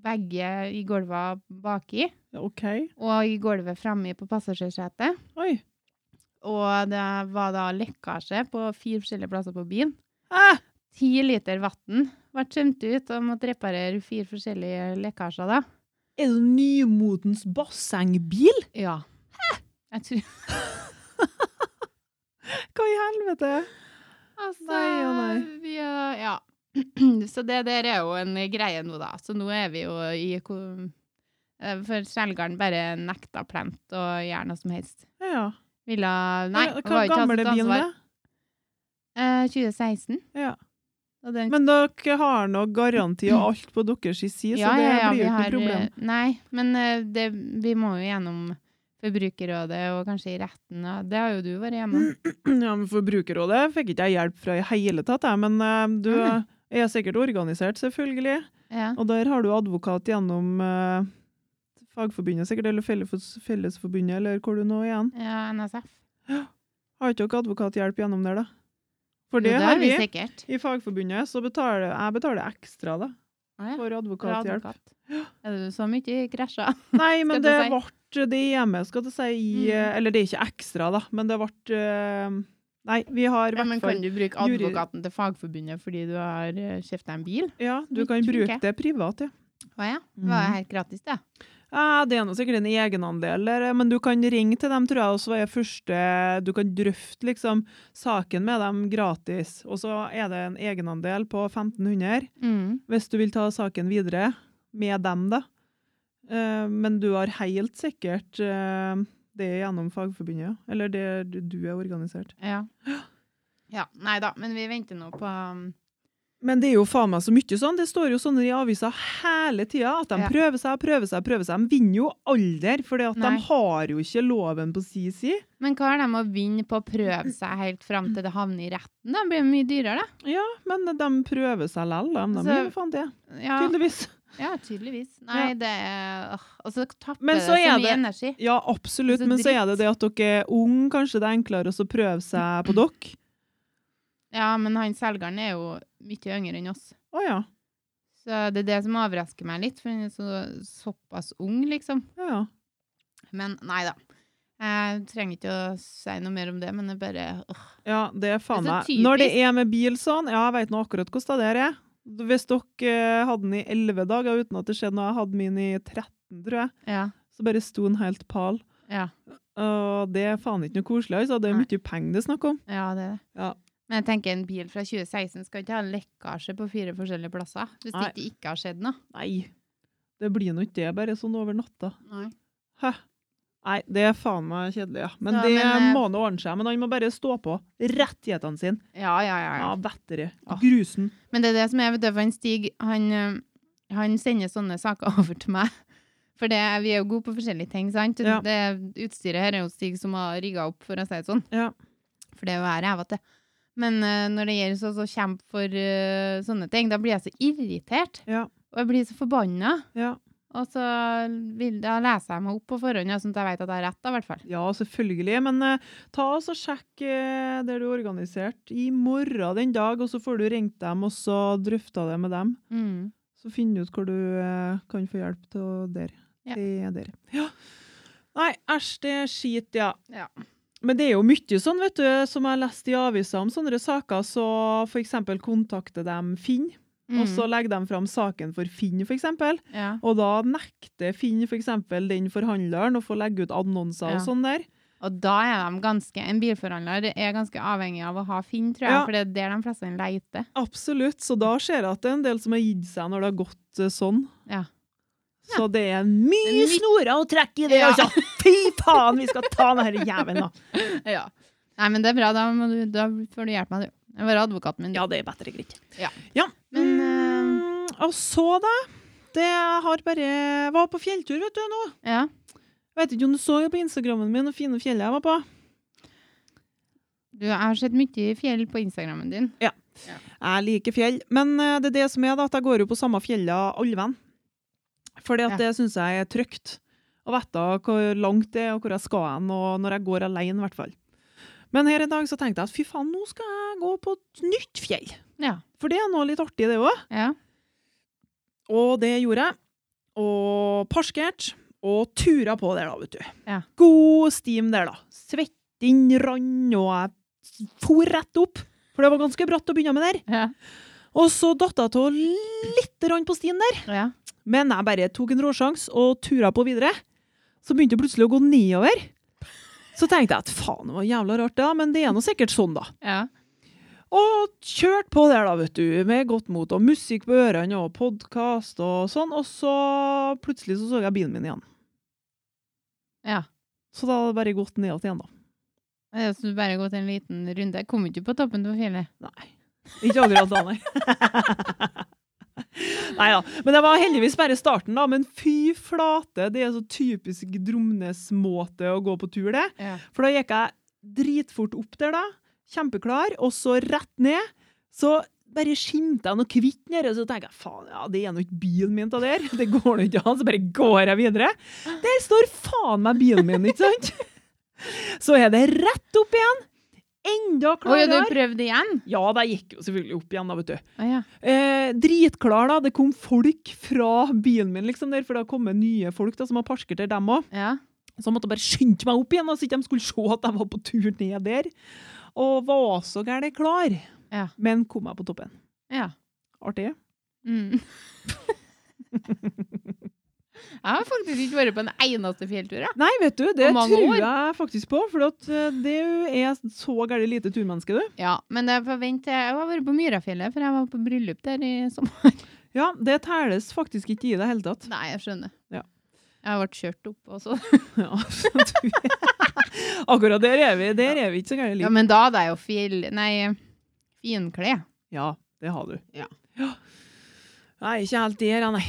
Speaker 1: begge i gulvet baki
Speaker 2: OK.
Speaker 1: og i gulvet framme på passasjersetet.
Speaker 2: Oi.
Speaker 1: Og det var da lekkasje på fire forskjellige plasser på bilen.
Speaker 2: Ah!
Speaker 1: Ti liter vann ble tømt ut og måtte reparere fire forskjellige lekkasjer da.
Speaker 2: Er det nymotens bassengbil?
Speaker 1: Ja. Jeg tror
Speaker 2: Hva i helvete?
Speaker 1: Altså,
Speaker 2: Nei og nei.
Speaker 1: Vi, eh, ja. *clears throat* Så det der er jo en greie nå, da. Så nå er vi jo i ko- eh, For selgeren bare nekta plent og gjøre noe som helst.
Speaker 2: Ja.
Speaker 1: Ville Nei, det
Speaker 2: Hva
Speaker 1: var ikke
Speaker 2: gammel
Speaker 1: hans
Speaker 2: er bilen?
Speaker 1: ansvar.
Speaker 2: er?
Speaker 1: Eh, 2016.
Speaker 2: Ja.
Speaker 1: Og den
Speaker 2: Men dere har nå garanti og alt på deres side, så det blir jo
Speaker 1: vi
Speaker 2: ikke noe
Speaker 1: har,
Speaker 2: problem.
Speaker 1: eh, Nei, men eh, det, vi må jo gjennom Forbrukerrådet og kanskje i retten. Og det har jo du vært
Speaker 2: Mm.
Speaker 1: hjemme.
Speaker 2: *clears throat* Ja, men Forbrukerrådet fikk ikke jeg hjelp fra i hele tatt, jeg, men eh, du
Speaker 1: Nei.
Speaker 2: eh, er sikkert organisert, selvfølgelig.
Speaker 1: Ja.
Speaker 2: Og der har du advokat gjennom eh, Fagforbundet, sikkert, eller Felles- Fellesforbundet, eller hvor du nå er igjen.
Speaker 1: ja, NSF.
Speaker 2: Har ikke dere advokathjelp gjennom der, da? For
Speaker 1: Jo,
Speaker 2: det, har vi.
Speaker 1: sikkert.
Speaker 2: I Fagforbundet så betaler jeg betaler ekstra da,
Speaker 1: Å, ja.
Speaker 2: for
Speaker 1: Bra
Speaker 2: advokathjelp.
Speaker 1: advokat.
Speaker 2: *gasps*
Speaker 1: Er det så mye krasjer?
Speaker 2: Nei, men det
Speaker 1: Skal du
Speaker 2: ble det hjemme, skal du si. i,
Speaker 1: Mm.
Speaker 2: Eller det er ikke ekstra, da, men det ble eh, Nei, vi har i
Speaker 1: Ja, men
Speaker 2: hvert
Speaker 1: kan
Speaker 2: fall
Speaker 1: du bruke
Speaker 2: jury-
Speaker 1: advokaten til Fagforbundet fordi du har eh, kjøpt deg en bil?
Speaker 2: Ja, du kan
Speaker 1: Funker.
Speaker 2: bruke det privat, ja.
Speaker 1: Å ja.
Speaker 2: Mm.
Speaker 1: Det var helt gratis, det.
Speaker 2: Ja, det er nå sikkert en egenandel, der, men du kan ringe til dem, tror jeg, og så er første Du kan drøfte liksom saken med dem gratis, og så er det en egenandel på 1500
Speaker 1: Mm.
Speaker 2: hvis du vil ta saken videre med dem, da. Eh, Men du har helt sikkert eh, det gjennom Fagforbundet, ja. eller det du- du er organisert. *gasps*
Speaker 1: Ja. ja. Nei da, men vi venter nå på um,
Speaker 2: Men det er jo faen meg så mye sånn. Det står jo sånne i avisa hele tida at de
Speaker 1: Ja.
Speaker 2: prøver seg og prøver seg. prøver seg. De vinner jo aldri, for de
Speaker 1: Nei.
Speaker 2: har jo ikke loven på si side.
Speaker 1: Men hva har de å vinne på å prøve seg helt fram til det havner i retten? Da blir det mye dyrere, da.
Speaker 2: Ja, men de prøver seg lell, de. De
Speaker 1: Så-
Speaker 2: gjør jo faen det,
Speaker 1: Ja,
Speaker 2: tydeligvis.
Speaker 1: ja tydeligvis. Nei,
Speaker 2: Ja.
Speaker 1: det er åh, Og så tapper
Speaker 2: Men
Speaker 1: det
Speaker 2: så
Speaker 1: så
Speaker 2: er
Speaker 1: mye
Speaker 2: det-
Speaker 1: energi.
Speaker 2: Ja, absolutt,
Speaker 1: Så
Speaker 2: men så er det
Speaker 1: dritt.
Speaker 2: det at dere er unge, kanskje det er enklere å prøve seg på dere.
Speaker 1: Ja, men han selgeren er jo mye yngre enn oss.
Speaker 2: Å ja.
Speaker 1: Så det er det som overrasker meg litt, for han er så, såpass ung, liksom.
Speaker 2: ja. ja.
Speaker 1: Men nei da. Jeg trenger ikke å si noe mer om det, men det er bare åh.
Speaker 2: Ja, det er faen
Speaker 1: Det er så
Speaker 2: meg. Når det
Speaker 1: typisk.
Speaker 2: er med bil sånn, ja, jeg vet nå akkurat hvordan det der er. Hvis dere eh, hadde den i 11 dager uten at det skjedde noe, jeg hadde min i 13, tror jeg,
Speaker 1: Ja.
Speaker 2: så bare sto den helt pal.
Speaker 1: Ja,
Speaker 2: Og det er faen ikke noe koselig, altså. Det er
Speaker 1: Nei.
Speaker 2: mye penger det er snakk om.
Speaker 1: ja det er det.
Speaker 2: Ja.
Speaker 1: Men jeg tenker en bil fra 2016 skal ikke ha lekkasje på fire forskjellige plasser. Hvis det
Speaker 2: Nei.
Speaker 1: ikke, ikke har skjedd noe.
Speaker 2: Nei, det blir nå ikke det, bare sånn over natta.
Speaker 1: Nei.
Speaker 2: Hæ? Nei, det er faen meg kjedelig, ja. Men
Speaker 1: Ja,
Speaker 2: det
Speaker 1: men, eh,
Speaker 2: må nå ordne seg. Men han må bare stå på. Rettighetene sine.
Speaker 1: Ja, ja, ja,
Speaker 2: Ja,
Speaker 1: ja.
Speaker 2: vettere.
Speaker 1: Ah.
Speaker 2: Grusen.
Speaker 1: Men det er det som er, vet du, for han Stig, han, ø, han sender sånne saker *laughs* over til meg. For det, vi er jo gode på forskjellige ting, sant?
Speaker 2: Ja.
Speaker 1: Det utstyret her er jo Stig som har rigga opp, for å si det sånn.
Speaker 2: Ja.
Speaker 1: For det er jo jeg rævete. Men ø, når det gjelder så, så kjemp for ø, sånne ting, da blir jeg så irritert.
Speaker 2: Ja.
Speaker 1: Og jeg blir så forbanna.
Speaker 2: Ja.
Speaker 1: Og så vil, da leser jeg meg opp på forhånd, ja, sånn at jeg vet at jeg har rett, da, i hvert fall.
Speaker 2: Ja, selvfølgelig. Men eh, ta oss og sjekk eh, der du er organisert i morgen den dag, og så får du ringt dem og så drøfta det med dem. Så finner du ut hvor du eh, kan få hjelp til å- der.
Speaker 1: Ja.
Speaker 2: Det er der. Ja. Nei, æsj, det er skit, ja.
Speaker 1: Ja.
Speaker 2: Men det er jo mye sånn, vet du, som jeg har lest i avisa om sånne saker, så f.eks. kontakter dem Finn, og så legger de fram saken for Finn, f.eks.
Speaker 1: Mm, ja.
Speaker 2: Og da nekter Finn for eksempel den forhandleren å få legge ut annonser og
Speaker 1: Ja.
Speaker 2: sånn der.
Speaker 1: Og da er de ganske En bilforhandler er ganske avhengig av å ha Finn, tror jeg,
Speaker 2: Ja.
Speaker 1: for det er der de fleste leter.
Speaker 2: Absolutt, så da ser jeg at det er en del som har gitt seg når det har gått eh, sånn.
Speaker 1: Ja.
Speaker 2: Så det er mye
Speaker 1: Litt-
Speaker 2: snorer å trekke i det,
Speaker 1: Ja.
Speaker 2: altså! *laughs* Fy faen, vi skal ta denne jævelen, da!
Speaker 1: Nei, men det er bra. Da, må du, da får du hjelpe meg, du. Jeg var advokaten min. du.
Speaker 2: Ja, det er bedre greit.
Speaker 1: Ja.
Speaker 2: Men,
Speaker 1: Men, eh,
Speaker 2: mm, og så, da? Det jeg har bare Var på fjelltur, vet du, nå.
Speaker 1: Ja.
Speaker 2: Vet ikke om du så det på Instagrammen min, det fine fjellet jeg var på.
Speaker 1: Du, jeg har sett mye fjell på Instagrammen din.
Speaker 2: Jeg liker fjell, men eh, det er det som er, da, at jeg går jo på samme fjellet allvenn. Fordi at
Speaker 1: Ja.
Speaker 2: det syns jeg er trygt. Å vite hvor langt det er, og hvor jeg skal hen, og når jeg går alene, i hvert fall. Men her i dag så tenkte jeg at fy faen, nå skal jeg gå på et nytt fjell.
Speaker 1: Ja.
Speaker 2: For det er noe litt artig, det òg.
Speaker 1: ja.
Speaker 2: Og det gjorde jeg. Og parskert. Og tura på der, da, vet du.
Speaker 1: Ja.
Speaker 2: God stim der, da. Svetten rann, og jeg for rett opp. For det var ganske bratt å begynne med der.
Speaker 1: Ja.
Speaker 2: Og så datt jeg av lite grann på stien der.
Speaker 1: ja.
Speaker 2: Men jeg bare tok en råsjanse og tura på videre. Så begynte det plutselig å gå nedover. Så tenkte jeg at faen, det var jævla rart, da, men det er nå sikkert sånn, da.
Speaker 1: ja.
Speaker 2: Og kjørte på der, da, vet du, med godt mot, og musikk på ørene og podkast og sånn. Og så plutselig så så jeg bilen min igjen.
Speaker 1: Ja.
Speaker 2: Så da hadde det bare gått nedott igjen, da.
Speaker 1: Det er som du bare gått en liten runde. Kom ikke på toppen på fjellet.
Speaker 2: Nei. Ikke akkurat da, nei. Nei da. Men det var heldigvis bare starten, da. Men fy flate, det er så typisk Dromnes-måte å gå på tur, det.
Speaker 1: Ja.
Speaker 2: For da gikk jeg dritfort opp der, da. Kjempeklar. Og så rett ned. Så bare skimte jeg noe hvitt nede, så tenkte jeg faen, ja, det er nå ikke bilen min av der. Det går nå ikke an. Så bare går jeg videre. Der står faen meg bilen min, ikke sant? Så er det rett opp igjen. Enda
Speaker 1: Å ja, du
Speaker 2: klarere.
Speaker 1: prøvde igjen?
Speaker 2: Ja, det gikk jo selvfølgelig opp igjen, da, vet du.
Speaker 1: Å ja.
Speaker 2: Eh, dritklar, da. Det kom folk fra bilen min, liksom, der, for det har kommet nye folk da, som har parkert der, dem òg.
Speaker 1: ja.
Speaker 2: Så jeg måtte bare skynde meg opp igjen, da, så ikke de skulle se at jeg var på tur ned der. Og var så gæren klar.
Speaker 1: Ja.
Speaker 2: Men kom meg på toppen.
Speaker 1: Ja.
Speaker 2: Artig.
Speaker 1: Mm. *laughs* jeg har faktisk ikke vært på en eneste fjelltur. jeg.
Speaker 2: Nei, vet du, det
Speaker 1: På mange
Speaker 2: tror
Speaker 1: år.
Speaker 2: jeg faktisk på, for at eh, det er så gæren lite turmenneske, du.
Speaker 1: Ja, men jeg får vente. Jeg har vært på Myrafjellet, for jeg var på bryllup der i sommer.
Speaker 2: Ja, det telles faktisk ikke i det hele tatt. *laughs*
Speaker 1: Nei, jeg skjønner.
Speaker 2: Ja.
Speaker 1: Jeg ble kjørt opp også.
Speaker 2: Ja, så du- *laughs* Akkurat der er vi, der er vi ikke så gæren
Speaker 1: Ja,
Speaker 2: lite.
Speaker 1: men da hadde jeg jo fjell... Nei, fiendkle.
Speaker 2: Ja, det har du.
Speaker 1: Ja.
Speaker 2: Ja. Nei, ikke helt der, ja, nei.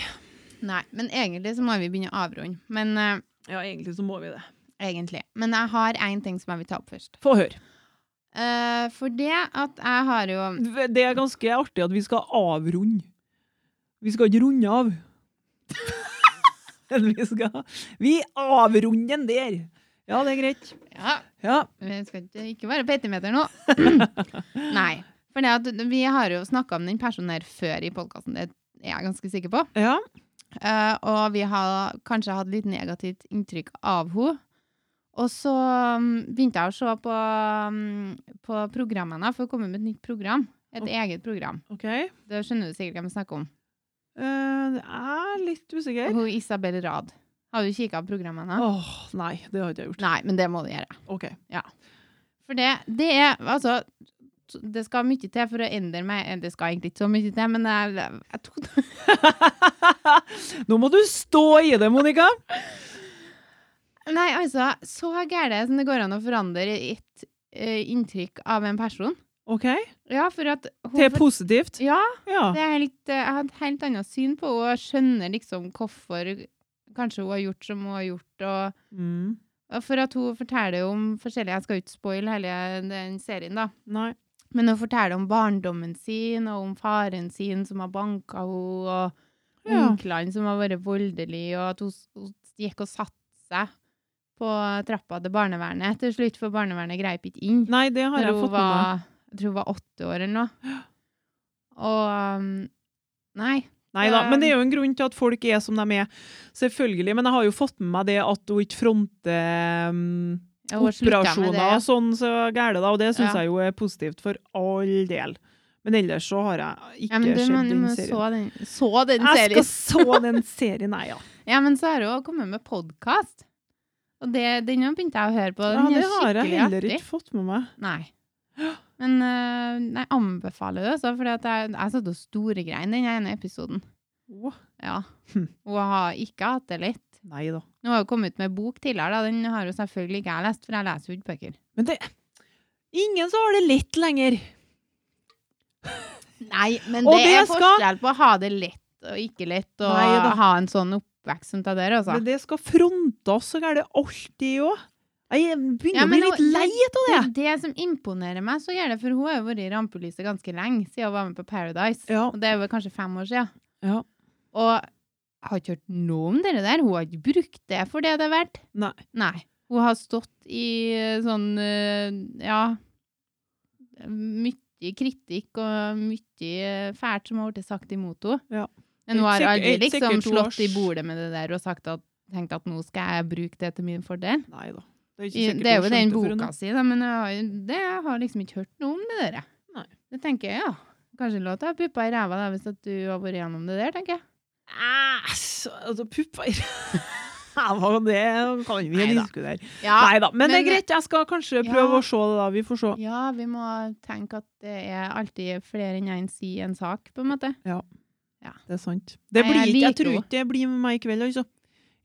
Speaker 1: Nei, men egentlig så må vi begynne å avrunde. Men eh,
Speaker 2: Ja, egentlig så må vi det.
Speaker 1: egentlig. Men jeg har én ting som jeg vil ta opp først.
Speaker 2: Få høre.
Speaker 1: Eh, for det at jeg har jo
Speaker 2: Det er ganske artig at vi skal avrunde. Vi skal ikke runde av. *laughs* Men vi skal Vi avrunder den der! Ja, det er greit.
Speaker 1: Ja,
Speaker 2: Ja.
Speaker 1: vi skal ikke, ikke være petimeter *coughs* nå. Nei. For det at vi har jo snakka om den personen her før i podkasten, det er jeg ganske sikker på.
Speaker 2: ja.
Speaker 1: Eh, og vi har kanskje hatt litt negativt inntrykk av henne. Og så mm, begynte jeg å se på, mm, på programmene, for det kom med et nytt program. Et
Speaker 2: Ok.
Speaker 1: eget program.
Speaker 2: OK. Eh,
Speaker 1: Det skjønner du sikkert hvem jeg snakker om.
Speaker 2: jeg er litt usikker.
Speaker 1: Hun Isabel Rad. Har du kikka på programmene?
Speaker 2: Åh, nei. Det har ikke jeg gjort.
Speaker 1: Nei, men det må du gjøre.
Speaker 2: OK. *laughs*
Speaker 1: For det, det er Altså, det skal mye til for å endre meg. Eh, Det skal egentlig ikke så mye til, men jeg, jeg tok
Speaker 2: Nå må du stå i det, Monica!
Speaker 1: *laughs* Nei, altså, så gære som det går an å forandre et eh, inntrykk av en person.
Speaker 2: OK?
Speaker 1: Ja, for at hun
Speaker 2: Til
Speaker 1: for-
Speaker 2: positivt.
Speaker 1: Ja,
Speaker 2: Ja.
Speaker 1: det er helt, eh, jeg har et helt annet syn på henne. og Jeg skjønner liksom hvorfor kanskje hun har gjort som hun har gjort. Og,
Speaker 2: Mm.
Speaker 1: og for at hun forteller jo om forskjellige Jeg skal jo ikke spoile hele den serien, da.
Speaker 2: Nei.
Speaker 1: Men hun forteller om barndommen sin, og om faren sin som har banka henne, og
Speaker 2: Ja.
Speaker 1: onklene som har vært voldelige, og at hun, s- hun gikk og satte seg på trappa til barnevernet til slutt, for barnevernet greip ikke inn.
Speaker 2: Nei, det har
Speaker 1: Når
Speaker 2: jeg
Speaker 1: hun
Speaker 2: fått med meg.
Speaker 1: var, jeg tror hun var åtte år eller noe. Og um, Nei.
Speaker 2: Nei da, men
Speaker 1: Eh,
Speaker 2: det er jo en grunn til at folk er som de er, selvfølgelig. Men jeg har jo fått med meg det at hun ikke fronter um,
Speaker 1: hun har sluttet med
Speaker 2: operasjoner og sånn så gære, da. Og det syns
Speaker 1: Ja.
Speaker 2: jeg jo er positivt for all del. Men ellers så har jeg
Speaker 1: Ja,
Speaker 2: ikke
Speaker 1: men du
Speaker 2: sett
Speaker 1: må, du
Speaker 2: den
Speaker 1: må
Speaker 2: serien.
Speaker 1: så den, så den
Speaker 2: Jeg skal
Speaker 1: serien.
Speaker 2: så den serien,
Speaker 1: *laughs*
Speaker 2: nei, ja.
Speaker 1: Ja, men så har hun kommet med podkast. Og det, den har begynt jeg å høre på.
Speaker 2: ja.
Speaker 1: Den
Speaker 2: Det
Speaker 1: er
Speaker 2: har jeg
Speaker 1: skikkelig
Speaker 2: heller
Speaker 1: artig.
Speaker 2: ikke fått med meg.
Speaker 1: Nei. Men eh, jeg anbefaler det, altså, for jeg, jeg satt og storegrein den ene episoden.
Speaker 2: Åh,
Speaker 1: Ja.
Speaker 2: Hm.
Speaker 1: Og jeg har ikke hatt det lett.
Speaker 2: Nei da.
Speaker 1: Nå har hun kommet ut med bok tidligere, da. den har jo selvfølgelig ikke jeg lest, for jeg leser jo ikke bøker.
Speaker 2: Men det Ingen som har det lett lenger.
Speaker 1: Nei, men
Speaker 2: Og
Speaker 1: det,
Speaker 2: det
Speaker 1: er
Speaker 2: skal-
Speaker 1: forskjell på å ha det lett og ikke lett, og
Speaker 2: Neida.
Speaker 1: ha en sånn oppvekst som det der, altså.
Speaker 2: Men det skal frontes så gære alltid òg. Jeg begynner
Speaker 1: Ja,
Speaker 2: å
Speaker 1: men
Speaker 2: bli litt
Speaker 1: hun-
Speaker 2: lei av
Speaker 1: Det
Speaker 2: det.
Speaker 1: er det som imponerer meg, så gjør det, for hun har jo vært i rampelyset ganske lenge, siden hun var med på Paradise.
Speaker 2: Ja.
Speaker 1: Og det er jo kanskje fem år siden.
Speaker 2: ja.
Speaker 1: Og Jeg har ikke hørt noe om det der. Hun har ikke brukt det for det det er verdt.
Speaker 2: Nei.
Speaker 1: Nei. Hun har stått i eh, sånn eh, Ja. Mye kritikk og mye fælt som har blitt sagt imot henne.
Speaker 2: Ja.
Speaker 1: Men hun har
Speaker 2: Sikkert-
Speaker 1: aldri liksom
Speaker 2: sikkert hun har
Speaker 1: slått i
Speaker 2: s-
Speaker 1: bordet med det der og sagt at, tenkt at nå skal jeg bruke det til min fordel.
Speaker 2: Nei da. Det er, ikke
Speaker 1: I,
Speaker 2: sikkert
Speaker 1: det er
Speaker 2: hun
Speaker 1: jo den
Speaker 2: skjønte for
Speaker 1: boka
Speaker 2: henne.
Speaker 1: si, da, men jeg har, det jeg har liksom ikke hørt noe om det der. jeg.
Speaker 2: Nei.
Speaker 1: Det tenker jeg, ja. Kanskje lov til å ha puppa i ræva da, hvis at du har vært gjennom det der, tenker jeg.
Speaker 2: Æsj! Altså, puppa i *laughs* ræva, det kan vi
Speaker 1: Neida.
Speaker 2: diskutere.
Speaker 1: Ja,
Speaker 2: Nei da, men det
Speaker 1: men-
Speaker 2: er greit. Jeg skal kanskje
Speaker 1: Ja.
Speaker 2: prøve å se det, da. Vi får se.
Speaker 1: ja, vi må tenke at det er alltid flere enn én si en sak, på en måte.
Speaker 2: Det er sant. Det
Speaker 1: Nei,
Speaker 2: blir,
Speaker 1: jeg
Speaker 2: ikke- jeg
Speaker 1: liker
Speaker 2: tror
Speaker 1: henne.
Speaker 2: ikke det blir med meg i kveld, altså.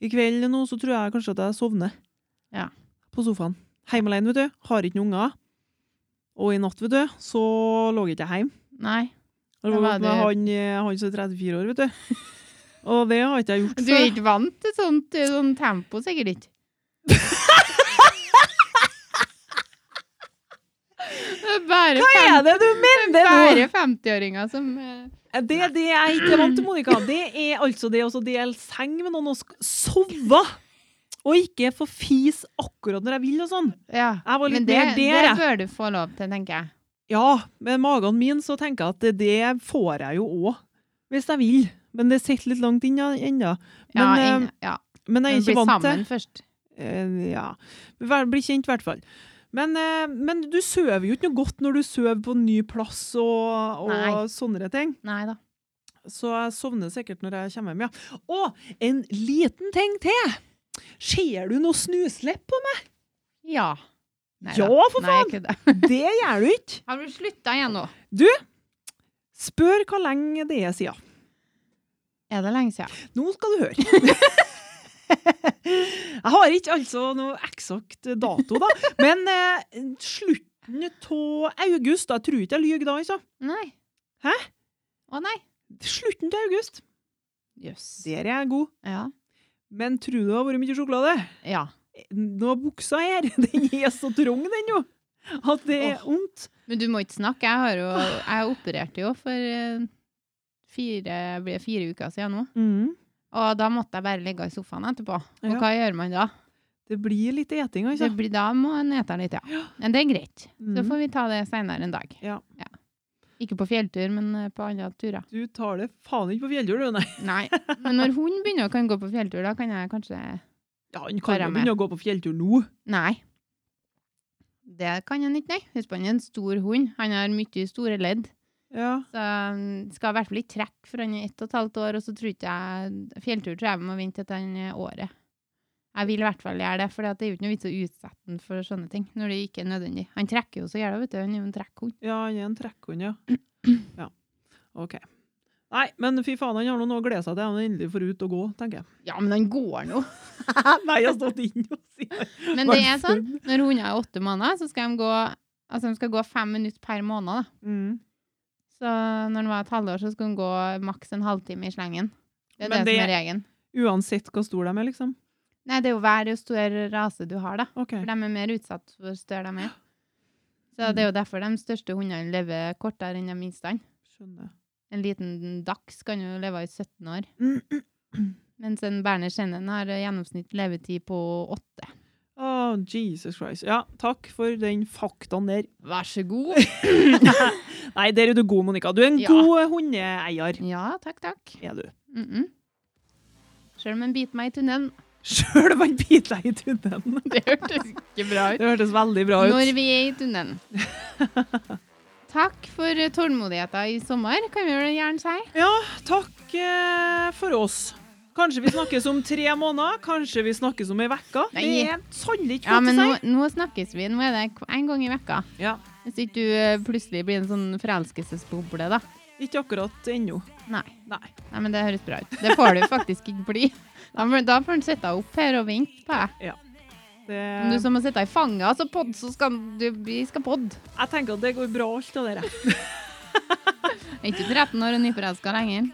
Speaker 2: I kveld nå så tror jeg kanskje at jeg sovner.
Speaker 1: Ja.
Speaker 2: På sofaen. Hjemme alene, vet du. Har ikke noen unger. Og i natt, vet du, så lå jeg ikke hjemme.
Speaker 1: Nei. Da
Speaker 2: Jeg lå
Speaker 1: var
Speaker 2: med
Speaker 1: du-
Speaker 2: han, eh, han som er 34 år, vet du.
Speaker 1: *laughs*
Speaker 2: Og det har ikke jeg gjort
Speaker 1: Du er
Speaker 2: før.
Speaker 1: ikke vant til sånt, til sånn tempo, sikkert
Speaker 2: *laughs*
Speaker 1: ikke. Det er bare,
Speaker 2: Hva er det du mener nå?
Speaker 1: bare 50-åringer som eh,
Speaker 2: Det er det jeg ikke er vant til, Monica. Det er altså det å dele seng med noen og sk- sove. Og ikke få fise akkurat når jeg vil og sånn.
Speaker 1: Ja.
Speaker 2: Jeg var litt
Speaker 1: Men det,
Speaker 2: mer der,
Speaker 1: det
Speaker 2: jeg.
Speaker 1: bør du få lov til, tenker jeg.
Speaker 2: Ja, med magen min så tenker jeg at det får jeg jo òg. Hvis jeg vil. Men det sitter litt langt inne ennå.
Speaker 1: Ja,
Speaker 2: Men, eh,
Speaker 1: inn- ja.
Speaker 2: Men jeg er
Speaker 1: bli
Speaker 2: ikke vant til
Speaker 1: sammen først.
Speaker 2: Eh, Ja. Vær- Bli kjent, i hvert fall. Men, eh, men du sover jo ikke noe godt når du sover på en ny plass og,
Speaker 1: Nei.
Speaker 2: og sånne ting.
Speaker 1: Nei da.
Speaker 2: Så jeg sovner sikkert når jeg kommer hjem, ja. Og en liten ting til! Ser du noe snuslepp på
Speaker 1: Ja.
Speaker 2: meg?
Speaker 1: da.
Speaker 2: Ja, for
Speaker 1: Nei, jeg kødder.
Speaker 2: faen! Det gjør du ikke!
Speaker 1: Har du slutta igjen nå?
Speaker 2: Spør hvor lenge det er siden.
Speaker 1: Er det lenge siden?
Speaker 2: Nå skal du høre. jeg har ikke altså noe eksakt dato, da. Men eh, slutten av august da, Jeg tror ikke jeg lyver da, altså.
Speaker 1: Nei.
Speaker 2: Hæ?
Speaker 1: Å nei.
Speaker 2: Slutten av august.
Speaker 1: Jøss.
Speaker 2: Der er jeg god.
Speaker 1: Ja.
Speaker 2: Men tror du det har vært mye sjokolade?
Speaker 1: ja.
Speaker 2: Nå buksa her, *laughs* den er så trang, den jo. At det er vondt.
Speaker 1: Men du må ikke snakke. Jeg, har jo, jeg opererte jo for eh, fire, blir det fire uker siden nå.
Speaker 2: Mm.
Speaker 1: Og da måtte jeg bare ligge i sofaen etterpå. Og
Speaker 2: Ja.
Speaker 1: hva gjør man da?
Speaker 2: Det blir litt eting, altså.
Speaker 1: Det blir, da må en ete litt, ja. Men det er greit. Så
Speaker 2: Mhm.
Speaker 1: får vi ta det seinere en dag.
Speaker 2: Ja.
Speaker 1: Ikke på fjelltur, men eh, på andre turer.
Speaker 2: Du tar det faen ikke på fjelltur, du, nei.
Speaker 1: Nei. Men når hun begynner å kan gå på fjelltur, da kan jeg kanskje
Speaker 2: Ja, Han kan
Speaker 1: Bare
Speaker 2: jo
Speaker 1: med.
Speaker 2: begynne å gå på fjelltur nå.
Speaker 1: Nei. Det kan han ikke, nei. Husk på, han er en stor hund. Han har mye store ledd.
Speaker 2: Ja.
Speaker 1: Så han skal i hvert fall ikke trekke før han er ett og et halvt år, og så tror ikke jeg Fjelltur tror jeg vi må vente til han er året. Jeg vil i hvert fall gjøre det, for det er jo ikke noe vits å utsette han for sånne ting når det ikke er nødvendig. Han trekker jo så gjerne, vet du. Han er jo en trekkhund.
Speaker 2: Ja, han er en trekkhund, ja. *clears throat* ja. OK. Nei, men fy faen, han har nå noe å glede seg til. Han er endelig får ut og gå, tenker jeg.
Speaker 1: Ja, men han går nå.
Speaker 2: *laughs* Nei, jeg har stått inne og sagt
Speaker 1: *laughs* Men det er sånn, når hunder er åtte måneder, så skal de gå, altså de skal gå fem minutter per måned. Da.
Speaker 2: Mm.
Speaker 1: Så når han var et halvår, så skulle han gå maks en halvtime i slengen. Det er det,
Speaker 2: Men
Speaker 1: som
Speaker 2: det-
Speaker 1: er regelen.
Speaker 2: Uansett hvor stor de er, liksom.
Speaker 1: Nei, det er jo hver jo større rase du har, da.
Speaker 2: OK.
Speaker 1: For de er mer utsatt for større de er. Så det er jo derfor de største hundene lever kortere enn de minste.
Speaker 2: Skjønner.
Speaker 1: En liten dachs kan jo leve i 17 år,
Speaker 2: Mm.
Speaker 1: mens en berner shennen har gjennomsnitt levetid på 8.
Speaker 2: Å, Jesus Christ. Ja, takk for den faktaen *laughs* der.
Speaker 1: Vær så god.
Speaker 2: Nei, der er du god, Monica. Du er en
Speaker 1: Ja.
Speaker 2: god hundeeier,
Speaker 1: Ja, takk, takk.
Speaker 2: er du.
Speaker 1: Mm -mm. Selv om en biter meg i tunnelen.
Speaker 2: Sjøl om han biter deg i tunnelen.
Speaker 1: Det hørtes ikke bra ut.
Speaker 2: Det hørtes veldig bra ut.
Speaker 1: Når vi er i tunnelen. Takk for tålmodigheten i sommer, kan vi vel gjerne si.
Speaker 2: Ja, takk eh, for oss. Kanskje vi snakkes om tre måneder, kanskje vi snakkes om ei uke. Det
Speaker 1: Nei.
Speaker 2: er sannelig ikke
Speaker 1: Ja, men
Speaker 2: godt å
Speaker 1: nå,
Speaker 2: si.
Speaker 1: nå snakkes vi. Nå er det k- en gang i vekka.
Speaker 2: Ja,
Speaker 1: Hvis ikke du eh, plutselig blir en sånn forelskelsesboble, da.
Speaker 2: ikke akkurat ennå.
Speaker 1: Nei.
Speaker 2: Nei.
Speaker 1: Nei, men det høres bra ut. Det får du faktisk ikke bli. Da får da får han sitte opp her og vente på deg.
Speaker 2: Det,
Speaker 1: Om du så må sitte i fanget altså podd, så skal du, vi skal podde.
Speaker 2: jeg tenker at det går bra, alt det der.
Speaker 1: Jeg er ikke 13 år og nyforelska lenger.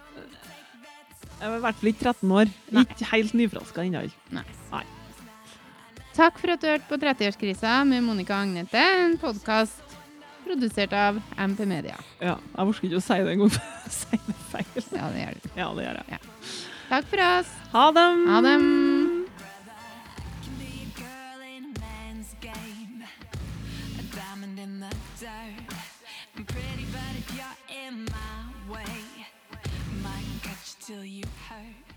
Speaker 2: Jeg er i hvert fall ikke 13 år.
Speaker 1: Nei.
Speaker 2: Ikke helt nyfraska ennå.
Speaker 1: Nei.
Speaker 2: Nei.
Speaker 1: Takk for at du hørte på 30-årskrisa med Monica og Agnete, en podkast produsert av MP Media.
Speaker 2: *laughs* Ja, jeg orker ikke å si det engang. Jeg sier det feil.
Speaker 1: Ja, det gjør du.
Speaker 2: Ja, det gjør jeg.
Speaker 1: Takk for oss.
Speaker 2: Ha dem!
Speaker 1: Ha det.
Speaker 3: can be a girl in a man's game. A diamond in the dirt. I'm pretty, but if you're in my way, might catch you till you hurt.